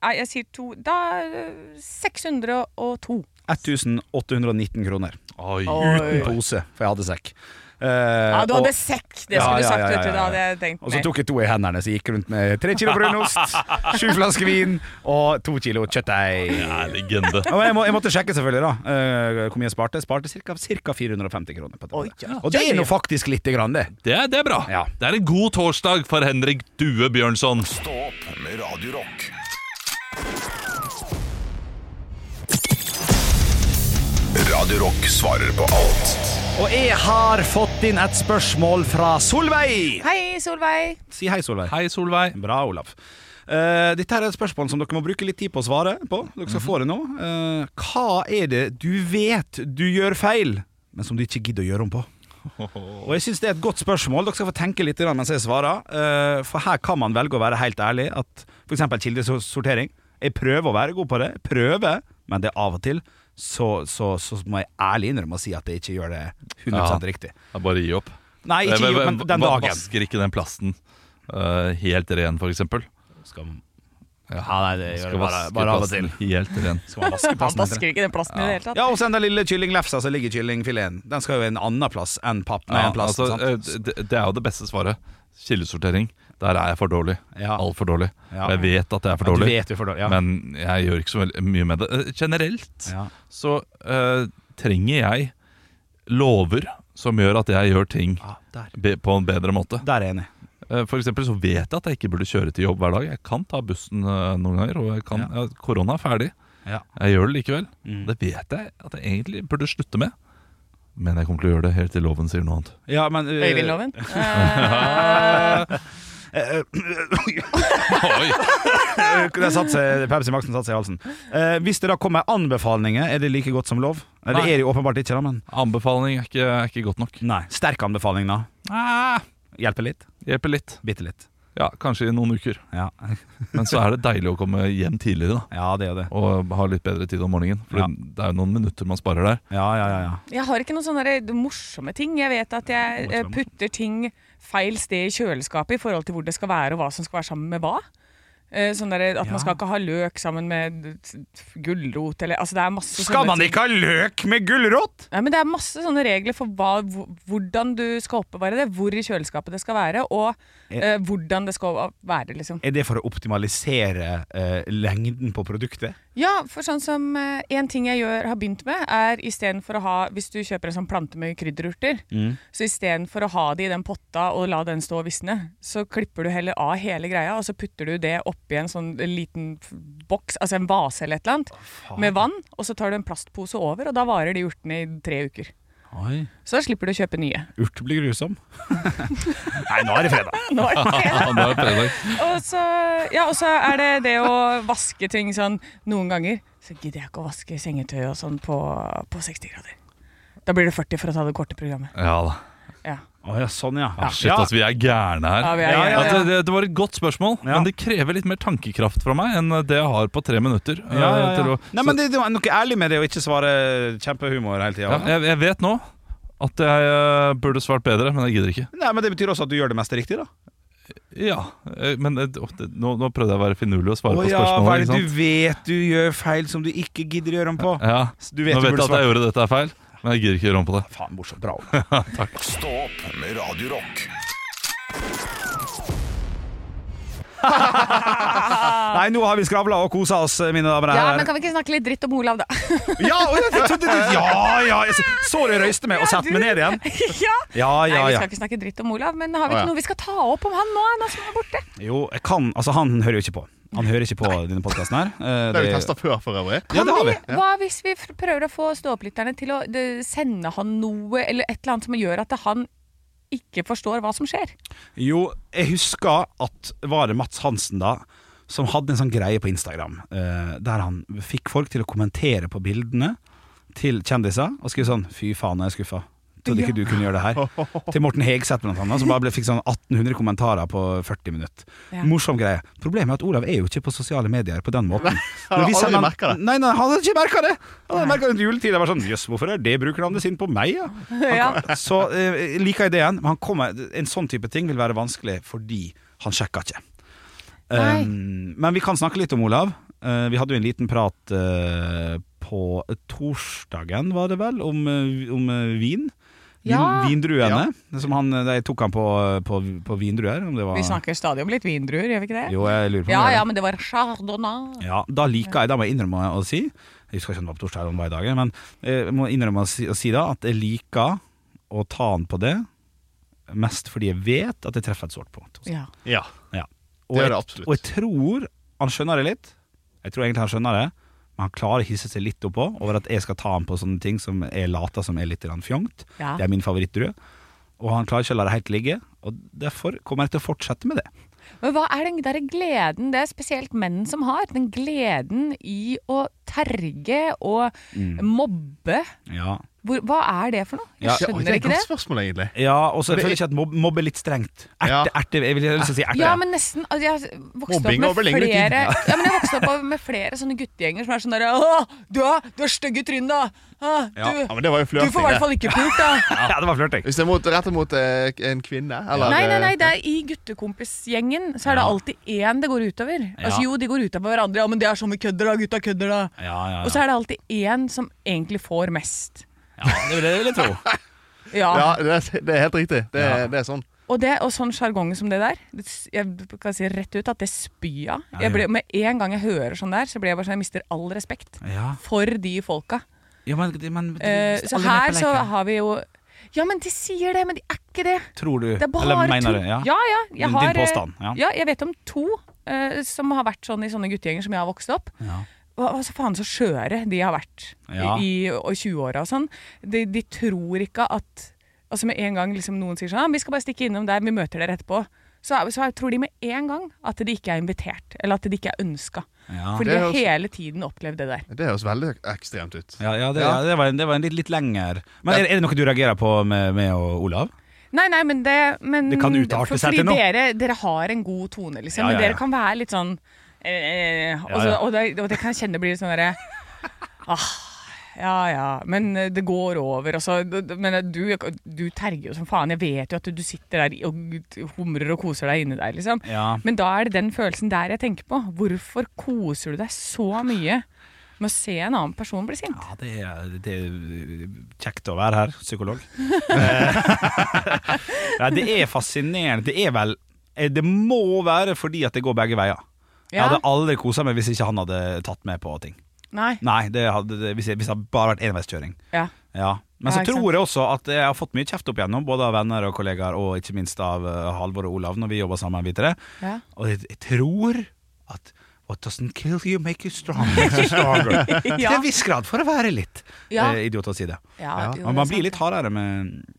Speaker 1: Nei, jeg sier to Da eh, 602.
Speaker 2: 1819 kroner.
Speaker 7: Oi.
Speaker 2: Uten pose, for jeg hadde sekk. Eh,
Speaker 1: Ja, du hadde
Speaker 2: og,
Speaker 1: sekk! Det
Speaker 2: Ja,
Speaker 1: skulle du
Speaker 2: ja,
Speaker 1: sagt,
Speaker 2: ja, ja,
Speaker 1: vet du.
Speaker 2: ja.
Speaker 1: Da hadde jeg tenkt
Speaker 2: og så
Speaker 1: mer.
Speaker 2: tok jeg to i hendene, så jeg gikk rundt med tre kilo brunost, sju flasker vin og to kilo kjøttdeig.
Speaker 7: Det er legende.
Speaker 2: Ja, men jeg, må, jeg måtte sjekke selvfølgelig da eh, hvor mye jeg sparte. Jeg sparte ca. 450 kroner. på
Speaker 1: Oi,
Speaker 2: det.
Speaker 1: ja.
Speaker 2: Og det er nå faktisk lite grann, det.
Speaker 7: Det er, det er bra.
Speaker 2: Ja.
Speaker 7: Det er en god torsdag for Henrik Due Bjørnson.
Speaker 6: Stå opp med Radio Rock. Radio Rock svarer på alt.
Speaker 2: Og jeg har fått inn et spørsmål fra Solveig.
Speaker 1: Hei, Solveig.
Speaker 2: Si hei, Solveig.
Speaker 7: Hei, Solveig.
Speaker 2: Bra, Olaf. Eh, dette her er et spørsmål som dere må bruke litt tid på å svare på. Dere skal få det nå. Eh, hva er det du vet du gjør feil, men som du ikke gidder å gjøre om på? Og jeg synes Det er et godt spørsmål. Dere skal få tenke litt grann mens jeg svarer. Eh, for her kan man velge å være helt ærlig. At F.eks. kildesortering. Jeg prøver å være god på det. Jeg Prøver, men det er av og til så, så, så må jeg ærlig innrømme å si at jeg ikke gjør det 100 riktig.
Speaker 7: Jeg bare gi opp. Eh,
Speaker 2: Nei, ikke
Speaker 7: Jeg-
Speaker 2: jo,
Speaker 7: jeg-
Speaker 2: men den
Speaker 7: va-
Speaker 2: dagen.
Speaker 7: Vasker ikke den plasten eh, helt ren, for eksempel.
Speaker 2: Skal, ja, nei, det gjør
Speaker 7: Skal
Speaker 2: jeg bare,
Speaker 7: vaske
Speaker 2: bare av og til.
Speaker 7: plasten helt ren.
Speaker 2: Skal man vaske
Speaker 1: Han
Speaker 2: plassen etter det?
Speaker 1: vasker ikke den plasten i det hele tatt.
Speaker 2: Ja, og så den der lille kyllinglefsa som ligger i kyllingfileten. Den skal jo en annen plass enn papp. Nei,
Speaker 7: Ja,
Speaker 2: en plass,
Speaker 7: altså, eh,
Speaker 2: sant?
Speaker 7: det, det er jo det beste svaret. Kildesortering. Der er jeg for dårlig.
Speaker 2: Ja.
Speaker 7: Altfor dårlig.
Speaker 2: Ja.
Speaker 7: Og Jeg vet at jeg er for
Speaker 2: Ja, du
Speaker 7: dårlig,
Speaker 2: vet jo for dårlig, ja.
Speaker 7: men jeg gjør ikke så vel- mye med det. Eh, Generelt
Speaker 2: Ja.
Speaker 7: så eh, trenger jeg lover som gjør at jeg gjør ting
Speaker 2: Ja, Ah, der.
Speaker 7: be- på en bedre måte.
Speaker 2: der er jeg enig.
Speaker 7: Eh, For eksempel så vet jeg at jeg ikke burde kjøre til jobb hver dag. Jeg kan ta bussen eh, noen ganger, og jeg kan, eh, korona er ferdig.
Speaker 2: Ja.
Speaker 7: Jeg gjør det likevel. Det vet jeg at jeg egentlig burde slutte med. Men jeg kommer til å gjøre det helt til loven sier noe annet.
Speaker 2: Ja, men eh,
Speaker 1: Øyvindloven. Eh,
Speaker 7: Oi,
Speaker 2: eh, det satt seg, Pepsi Max-en satte seg i halsen. Eh, hvis det da kommer anbefalinger, er det like godt som lov? Eller
Speaker 7: Nei.
Speaker 2: er det jo åpenbart ikke, da, men
Speaker 7: Anbefaling er ikke, er ikke godt nok.
Speaker 2: Nei. Sterk anbefaling, da.
Speaker 7: Ah,
Speaker 2: Hjelper litt?
Speaker 7: hjelper litt.
Speaker 2: Bitte litt.
Speaker 7: Ja, kanskje i noen uker.
Speaker 2: Ja,
Speaker 7: Men så er det deilig å komme hjem tidligere, da.
Speaker 2: ja det er det.
Speaker 7: Og ha litt bedre tid om morgenen. For
Speaker 2: Ja.
Speaker 7: det er jo noen minutter man sparer der.
Speaker 2: Ja, ja, ja. ja.
Speaker 1: Jeg har ikke noen sånne der morsomme ting. Jeg vet at jeg eh, putter ting feil sted i kjøleskapet i forhold til hvor det skal være og hva som skal være sammen med hva. Eh, Sånn der, at
Speaker 2: Ja.
Speaker 1: man skal ikke ha løk sammen med t- t- gulrot eller altså det er masse
Speaker 2: Skal
Speaker 1: sånne
Speaker 2: man
Speaker 1: ting.
Speaker 2: ikke ha løk med gulrot?!
Speaker 1: Nei, men Det er masse sånne regler for hva, hvor- hvordan du skal oppbevare det, hvor i kjøleskapet det skal være, og eh, hvordan det skal være. liksom.
Speaker 2: Er det for å optimalisere eh, lengden på produktet?
Speaker 1: Ja, for sånn som eh, En ting jeg gjør, har begynt med, er istedenfor å ha Hvis du kjøper en sånn plante med krydderurter, så istedenfor å ha det i den potta og la den stå og visne, så klipper du heller av hele greia, og så putter du det oppi en sånn liten f- boks, altså en vase eller et eller annet, med vann, og så tar du en plastpose over, og da varer de urtene i tre uker.
Speaker 2: Oi.
Speaker 1: Så da slipper du å kjøpe nye.
Speaker 2: Urt blir grusom. Nei, nå er det fredag.
Speaker 1: Nå er det fredag.
Speaker 7: Ja, det er fredag.
Speaker 1: Og så, ja, og så er det det å vaske ting sånn noen ganger. Så gidder jeg ikke å vaske sengetøy og sånn på, på 60 grader. Da blir det 40 for å ta det korte programmet.
Speaker 7: Ja da.
Speaker 1: Ja.
Speaker 2: Å ja, sånn ja.
Speaker 7: Ah, Shit, altså, vi er gærne her.
Speaker 1: Ja, vi er
Speaker 2: Ja, ja,
Speaker 1: gærne.
Speaker 7: At det, det, det var et godt spørsmål,
Speaker 2: Ja.
Speaker 7: men det krever litt mer tankekraft fra meg enn det jeg har på tre minutter. eh,
Speaker 2: Ja, ja,
Speaker 7: til
Speaker 2: ja.
Speaker 7: å-
Speaker 2: Nei, men det, det var noe ærlig med det å ikke svare kjempehumor hele
Speaker 7: Ja,
Speaker 2: tida.
Speaker 7: jeg, jeg vet nå at jeg eh, burde svart bedre, men jeg gidder ikke.
Speaker 2: Nei, men Det betyr også at du gjør det meste riktig, da.
Speaker 7: Ja, eh, men eh, åh, det- nå, nå prøvde jeg å være finurlig og svare
Speaker 2: Å
Speaker 7: på
Speaker 2: ja,
Speaker 7: spørsmålet.
Speaker 2: hva er
Speaker 7: ikke
Speaker 2: det
Speaker 7: sant?
Speaker 2: du vet du gjør feil som du ikke gidder gjøre om på?
Speaker 7: Ja,
Speaker 2: Du vet
Speaker 7: Nå
Speaker 2: du burde
Speaker 7: vet jeg at jeg
Speaker 2: svare.
Speaker 7: gjorde dette er feil, men jeg gidder ikke gjøre om på det.
Speaker 2: Faen, morsomt. Bra.
Speaker 6: Stå opp med Radio Rock.
Speaker 2: Nei, nå har vi skravla og kosa oss, mine damer og
Speaker 1: Ja,
Speaker 2: herrer.
Speaker 1: men kan vi ikke snakke litt dritt om Olav, da?
Speaker 2: Ja, og jeg trodde du Ja, ja. jeg Så det røyste meg og satte meg ned igjen.
Speaker 1: ja.
Speaker 2: Ja,
Speaker 1: Nei,
Speaker 2: ja,
Speaker 1: vi
Speaker 2: ja.
Speaker 1: skal ikke snakke dritt om Olav, men har vi
Speaker 2: Å,
Speaker 1: ikke
Speaker 2: ja.
Speaker 1: noe vi skal ta opp om han nå? Nå som han er borte
Speaker 2: Jo, jeg kan Altså, han hører jo ikke på. Han hører ikke på denne podkasten her. Eh,
Speaker 4: Det har vi testa før, for øvrig.
Speaker 2: Ja, det har vi.
Speaker 4: Ja.
Speaker 1: Hva hvis vi f- prøver å få ståopplytterne til å de, sende han noe, eller et eller annet som gjør at han ikke forstår hva som skjer?
Speaker 2: Jo, jeg husker at var det Mats Hansen da som hadde en sånn greie på Instagram eh, der han fikk folk til å kommentere på bildene til kjendiser og skrive sånn 'fy faen, jeg er skuffa'. Trodde ikke du kunne gjøre det her. Til Morten Hegseth blant annet, som bare ble, fikk sånn 1800 kommentarer på 40 minutter.
Speaker 1: Ja.
Speaker 2: Morsom greie. Problemet er at Olav er jo ikke på sosiale medier på den måten.
Speaker 4: han
Speaker 2: Når
Speaker 4: har
Speaker 2: vi sender
Speaker 4: aldri
Speaker 2: han-
Speaker 4: merket det.
Speaker 2: Nei, nei, han hadde ikke merka det! Han hadde merka det til juletid. Jeg var sånn 'jøss, hvorfor er det bruker han det sin på meg', ja?
Speaker 1: Ja.
Speaker 2: Så eh, liker jeg det igjen, men han kommer, en sånn type ting vil være vanskelig fordi han sjekker ikke.
Speaker 1: Nei.
Speaker 2: Um, men vi kan snakke litt om Olav. Eh, vi hadde jo en liten prat eh, på torsdagen, var det vel, om, eh, om eh, vin. Vin,
Speaker 1: Ja.
Speaker 2: Vindruene. Som han, eh, de tok han på, på, på vindruer. Om det var,
Speaker 1: Vi snakker stadig om litt vindruer, gjør vi ikke det?
Speaker 2: Jo, jeg lurer på om
Speaker 1: Ja
Speaker 2: det
Speaker 1: ja,
Speaker 2: var-
Speaker 1: men det var chardonnay.
Speaker 2: ja, da liker jeg, da må jeg innrømme å si Jeg husker ikke om det var på torsdag eller om det var i dag Men eh, jeg må innrømme å si, å si da At jeg liker å ta han på det Mest fordi jeg vet at jeg treffer et sårt punkt hos han.
Speaker 1: Ja.
Speaker 4: Ja.
Speaker 2: ja.
Speaker 4: Det
Speaker 2: og,
Speaker 4: gjør
Speaker 2: jeg,
Speaker 4: det absolutt.
Speaker 2: og jeg tror han skjønner det litt Jeg tror egentlig han skjønner det Men han klarer å hisse seg litt oppå Over at jeg skal ta han på sånne ting Som jeg later som er litt grann fjongt
Speaker 1: Ja.
Speaker 2: Det er min favorittdrue Og han klarer ikke å la det helt ligge Og derfor kommer jeg til å fortsette med det
Speaker 1: Men hva er den der gleden det er spesielt menn som har? Den gleden i å terge og mobbe.
Speaker 2: Ja,
Speaker 1: Hvor, hva er det for noe? Jeg
Speaker 2: Ja.
Speaker 4: Oi,
Speaker 1: skjønner
Speaker 4: det er et
Speaker 1: ikke
Speaker 4: godt
Speaker 1: det.
Speaker 4: spørsmål, egentlig.
Speaker 2: ja og så
Speaker 4: Men det-
Speaker 2: føler jeg ikke at mobb, mobb er litt strengt Erte,
Speaker 4: Ja.
Speaker 2: erte, jeg vil jeg har lyst til å si erte
Speaker 1: Ja, men nesten altså, Jeg har vokst
Speaker 4: Mobbing
Speaker 1: opp
Speaker 4: over
Speaker 1: med
Speaker 4: lengre tid.
Speaker 1: flere ja, men jeg har vokst opp med flere sånne guttegjenger som er sånn derre Å, du har, du har stygge tryn, da! Å,
Speaker 2: Ja,
Speaker 1: du,
Speaker 4: Ja, men det var jo
Speaker 1: du får i hvert
Speaker 4: flørting.
Speaker 1: fall ikke pult, da!
Speaker 2: Ja, det var flørting.
Speaker 4: Hvis det er mot, rettet mot eh, en kvinne, eller
Speaker 1: Nei, nei, nei, det er i guttekompisgjengen så er det alltid én det går utover. Altså
Speaker 2: Ja.
Speaker 1: Jo, de går utover hverandre, ja, men det er sånn vi kødder, da. Gutta kødder, da.
Speaker 2: Ja, ja,
Speaker 1: Og så er det alltid én som egentlig får mest.
Speaker 2: det vil jeg, tro.
Speaker 1: Ja.
Speaker 4: Ja, det er, det er helt riktig. Det er, det er sånn.
Speaker 1: Og, det, og sånn sjargong som det der, det, s- jeg kan si rett ut at det spyr av.
Speaker 2: Ja,
Speaker 1: Jeg
Speaker 2: ja.
Speaker 1: ble- Med en gang jeg hører sånn der, så blir jeg bare sånn, jeg mister all respekt
Speaker 2: Ja,
Speaker 1: for de folka.
Speaker 2: men, men
Speaker 1: Eh, så her så har vi jo Ja, men de sier det, men de er ikke det.
Speaker 2: Tror du
Speaker 1: Det er bare
Speaker 2: Eller
Speaker 1: to.
Speaker 2: mener du? Ja.
Speaker 1: ja, ja, jeg
Speaker 2: Din-
Speaker 1: har,
Speaker 2: din påstand,
Speaker 1: eh,
Speaker 2: ja.
Speaker 1: ja, jeg vet om to eh, som har vært sånn i sånne guttegjenger som jeg har vokst opp.
Speaker 2: Ja.
Speaker 1: Hva, hva så faen så skjøre de har vært
Speaker 2: Ja.
Speaker 1: i, i, og 20-åra og sånn. De, de tror ikke at Altså Med en gang liksom noen sier sånn ah, 'Vi skal bare stikke innom der, vi møter dere etterpå', så, er- så er- tror de med en gang at de ikke er invitert, eller at de ikke er ønska.
Speaker 2: Ja.
Speaker 1: Fordi
Speaker 4: Det
Speaker 1: de
Speaker 4: er
Speaker 1: har
Speaker 4: også-
Speaker 1: hele tiden opplevd det der.
Speaker 4: Det høres veldig ekstremt ut.
Speaker 2: Ja, ja, det, ja, det var en, det var en litt, litt lenger Men er, er det noe du reagerer på med, med og Olav?
Speaker 1: Nei, nei, men det men,
Speaker 2: Det kan utarte
Speaker 1: for-
Speaker 2: seg
Speaker 1: fordi
Speaker 2: til noe.
Speaker 1: Dere, dere har en god tone, liksom.
Speaker 2: Ja, ja,
Speaker 1: Men
Speaker 2: ja.
Speaker 1: dere kan være litt sånn eh, eh, og,
Speaker 2: Ja,
Speaker 1: så,
Speaker 2: ja.
Speaker 1: og, det, og det kan jeg kjenne blir litt sånn derre ah, Ja ja, men eh, det går over. Og så, d- d- men eh, du, du terger jo som faen. Jeg vet jo at du, du sitter der og humrer og koser deg inni der, liksom.
Speaker 2: Ja.
Speaker 1: Men da er det den følelsen der jeg tenker på. Hvorfor koser du deg så mye med å se en annen person bli sint?
Speaker 2: Ja, det er, det er kjekt å være her, psykolog. Eh, Nei, det er fascinerende. Det er vel eh, Det må være fordi at det går begge veier. Jeg
Speaker 1: Ja.
Speaker 2: hadde aldri kosa meg hvis ikke han hadde tatt med på ting.
Speaker 1: Nei.
Speaker 2: Nei, det hadde, det- hvis, jeg, hvis det hadde bare vært enveiskjøring.
Speaker 1: Ja.
Speaker 2: Ja, Men
Speaker 1: Ja,
Speaker 2: så
Speaker 1: ikke sant?
Speaker 2: tror jeg også at jeg har fått mye kjeft opp igjennom, både av venner og kollegaer, og ikke minst av eh, Halvor og Olav når vi jobber sammen. Vet dere.
Speaker 1: Ja.
Speaker 2: Og jeg, jeg tror at What doesn't kill you make you stronger. stronger. Til
Speaker 1: Ja.
Speaker 2: en viss grad, for å være litt
Speaker 1: Ja.
Speaker 2: eh, idiot å si det.
Speaker 1: Ja, jo, det er
Speaker 2: Men man
Speaker 1: sant.
Speaker 2: blir litt hardere med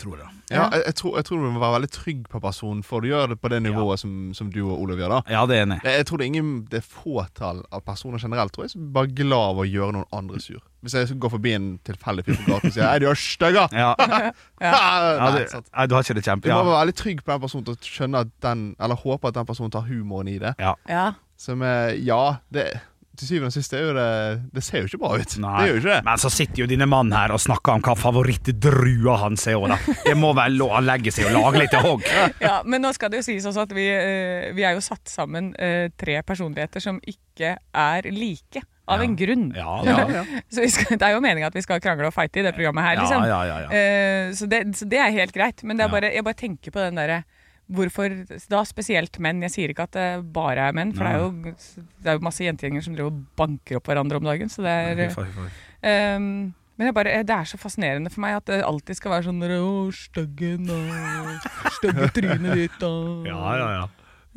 Speaker 2: Tror jeg, da.
Speaker 4: Ja, jeg, jeg, tror, jeg tror du må være veldig trygg på personen for å gjøre det på det nivået som, som du og Olav gjør. da
Speaker 2: Ja, det er jeg enig. i.
Speaker 4: Jeg jeg tror det er ingen Det er fåtall av personer generelt tror jeg, som er bare glad av å gjøre noen andre sur. Hvis jeg går forbi en tilfeldig fyr på gaten og sier 'Hei, du er stygg', da!»
Speaker 2: Ja. Ja,
Speaker 4: Nei,
Speaker 2: du,
Speaker 4: sant.
Speaker 2: nei, du har ikke det
Speaker 4: Du
Speaker 2: kjempe...
Speaker 4: må
Speaker 2: Ja.
Speaker 4: være veldig trygg på den personen til å skjønne at den Eller håpe at den personen tar humoren i det.
Speaker 2: Ja.
Speaker 1: Ja.
Speaker 4: Som er Ja, det til syvende og sist er jo det Det ser jo ikke bra ut.
Speaker 2: Nei.
Speaker 4: Det gjør jo ikke det.
Speaker 2: Men så sitter jo dine mann her og snakker om hva favorittdrua hans er. og da. Det må vel lov å legge seg og lage litt hogg.
Speaker 1: Ja, men nå skal det jo sies også at vi, eh, vi er jo satt sammen eh, tre personligheter som ikke er like. Av en grunn.
Speaker 2: Ja, ja, ja.
Speaker 1: Så vi skal, det er jo meninga at vi skal krangle og fighte i det programmet her,
Speaker 2: Ja,
Speaker 1: liksom.
Speaker 2: ja, ja, ja.
Speaker 1: Eh, så, det, så det er helt greit. Men det er
Speaker 2: Ja.
Speaker 1: bare, jeg bare tenker på den derre hvorfor da spesielt menn? Jeg sier ikke at det bare er menn, for det er, jo, det er jo masse jentegjenger som driver og banker opp hverandre om dagen. Så det er,
Speaker 2: Fy faen, fy faen.
Speaker 1: ehm, men jeg bare, det er så fascinerende for meg at det alltid skal være sånn Å, styggen, å, stygge trynet ditt, å
Speaker 2: Ja, ja, ja.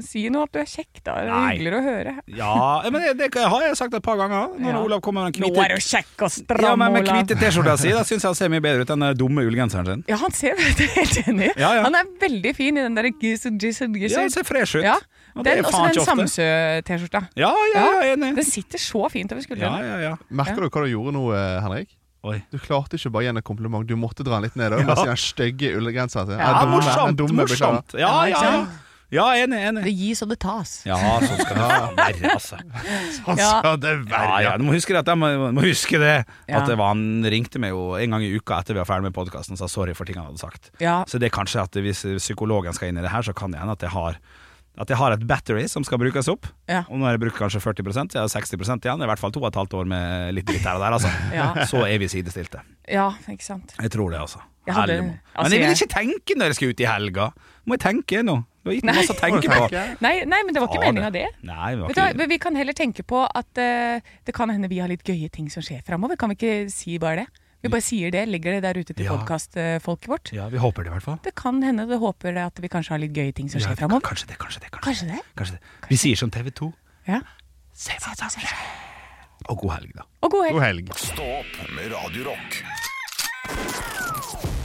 Speaker 1: Si nå at du er kjekk, da. Det er
Speaker 2: Nei.
Speaker 1: hyggeligere å høre.
Speaker 2: Ja, men det, det har jeg sagt et par ganger. Når
Speaker 1: Ja.
Speaker 2: Olav kommer med den
Speaker 1: Nå
Speaker 2: hvite
Speaker 1: er du kjekk og stram,
Speaker 2: ja, men med
Speaker 1: Olav.
Speaker 2: hvite T-skjorta si, da syns jeg han ser mye bedre ut enn den dumme ullgenseren sin.
Speaker 1: Ja, han ser det er helt enig.
Speaker 2: Ja, ja.
Speaker 1: Han er veldig fin i den der gizzard, gizzard,
Speaker 2: Ja, han
Speaker 1: gizzard.
Speaker 2: ser fresh ut.
Speaker 1: Ja,
Speaker 2: Og det
Speaker 1: den,
Speaker 2: er
Speaker 1: også
Speaker 2: faen
Speaker 1: den
Speaker 2: ikke ofte.
Speaker 1: Samsø-T-skjorta.
Speaker 2: Ja, ja, jeg er enig.
Speaker 1: Den sitter så fint over
Speaker 2: Ja,
Speaker 1: skuldrene.
Speaker 2: ja, ja.
Speaker 4: Merker du hva du gjorde nå, eh, Henrik?
Speaker 2: Oi.
Speaker 4: Du klarte ikke bare å gi henne et kompliment, du måtte dra den litt ned. Og bare si den stygge ullgenseren
Speaker 2: Ja,
Speaker 4: sin. Den dumme- den
Speaker 2: morsomt,
Speaker 4: dumme, beklager.
Speaker 2: morsomt. Ja, ja, ja. Ja, enig, enig.
Speaker 1: Det gis og det tas.
Speaker 2: Ja, sånn skal det være, altså.
Speaker 4: Han
Speaker 1: Ja.
Speaker 4: sa det
Speaker 2: Ja,
Speaker 4: verre.
Speaker 2: ja, du må huske det. At jeg må, må huske det.
Speaker 1: Ja.
Speaker 2: At det var, han ringte meg jo en gang i uka etter vi var ferdig med podkasten og sa sorry for ting han hadde sagt.
Speaker 1: Ja.
Speaker 2: Så det er kanskje at hvis psykologen skal inn i det her, så kan det hende at jeg har at jeg har et battery som skal brukes opp.
Speaker 1: Ja.
Speaker 2: Og nå har jeg brukt kanskje 40 jeg har 60 igjen. I hvert fall to og et halvt år med litt dritt her og der, altså.
Speaker 1: Ja.
Speaker 2: Så er vi sidestilte.
Speaker 1: ja, ikke sant.
Speaker 2: Jeg tror det, altså.
Speaker 1: Jeg hadde-
Speaker 2: Herlig, må.
Speaker 1: altså,
Speaker 2: Men jeg vil
Speaker 1: jeg-
Speaker 2: ikke tenke når jeg skal ut i helga. Må jeg tenke nå? Du har gitt meg
Speaker 1: Nei.
Speaker 2: masse å tenke på.
Speaker 1: Nei, nei, men det var ikke
Speaker 2: Ja,
Speaker 1: meninga, det.
Speaker 2: Nei, det var
Speaker 1: Vet du, hva,
Speaker 2: ikke
Speaker 1: men vi kan heller tenke på at eh, det kan hende vi har litt gøye ting som skjer framover. Kan vi ikke si bare det? Vi bare sier det, legger det der ute til
Speaker 2: Ja.
Speaker 1: podkastfolket vårt.
Speaker 2: Ja, vi håper det, i hvert fall.
Speaker 1: Det kan hende, det håper jeg, at vi kanskje har litt gøye ting som
Speaker 2: Ja,
Speaker 1: skjer
Speaker 2: vi-
Speaker 1: framover.
Speaker 2: Kanskje det, kanskje det. Kanskje,
Speaker 1: Kanskje det?
Speaker 2: kanskje det. Vi sier som TV 2.
Speaker 1: Ja.
Speaker 2: Se hva som skjer. Og god helg, da.
Speaker 1: Og god helg.
Speaker 4: God helg.
Speaker 6: Stå opp med Radio Rock.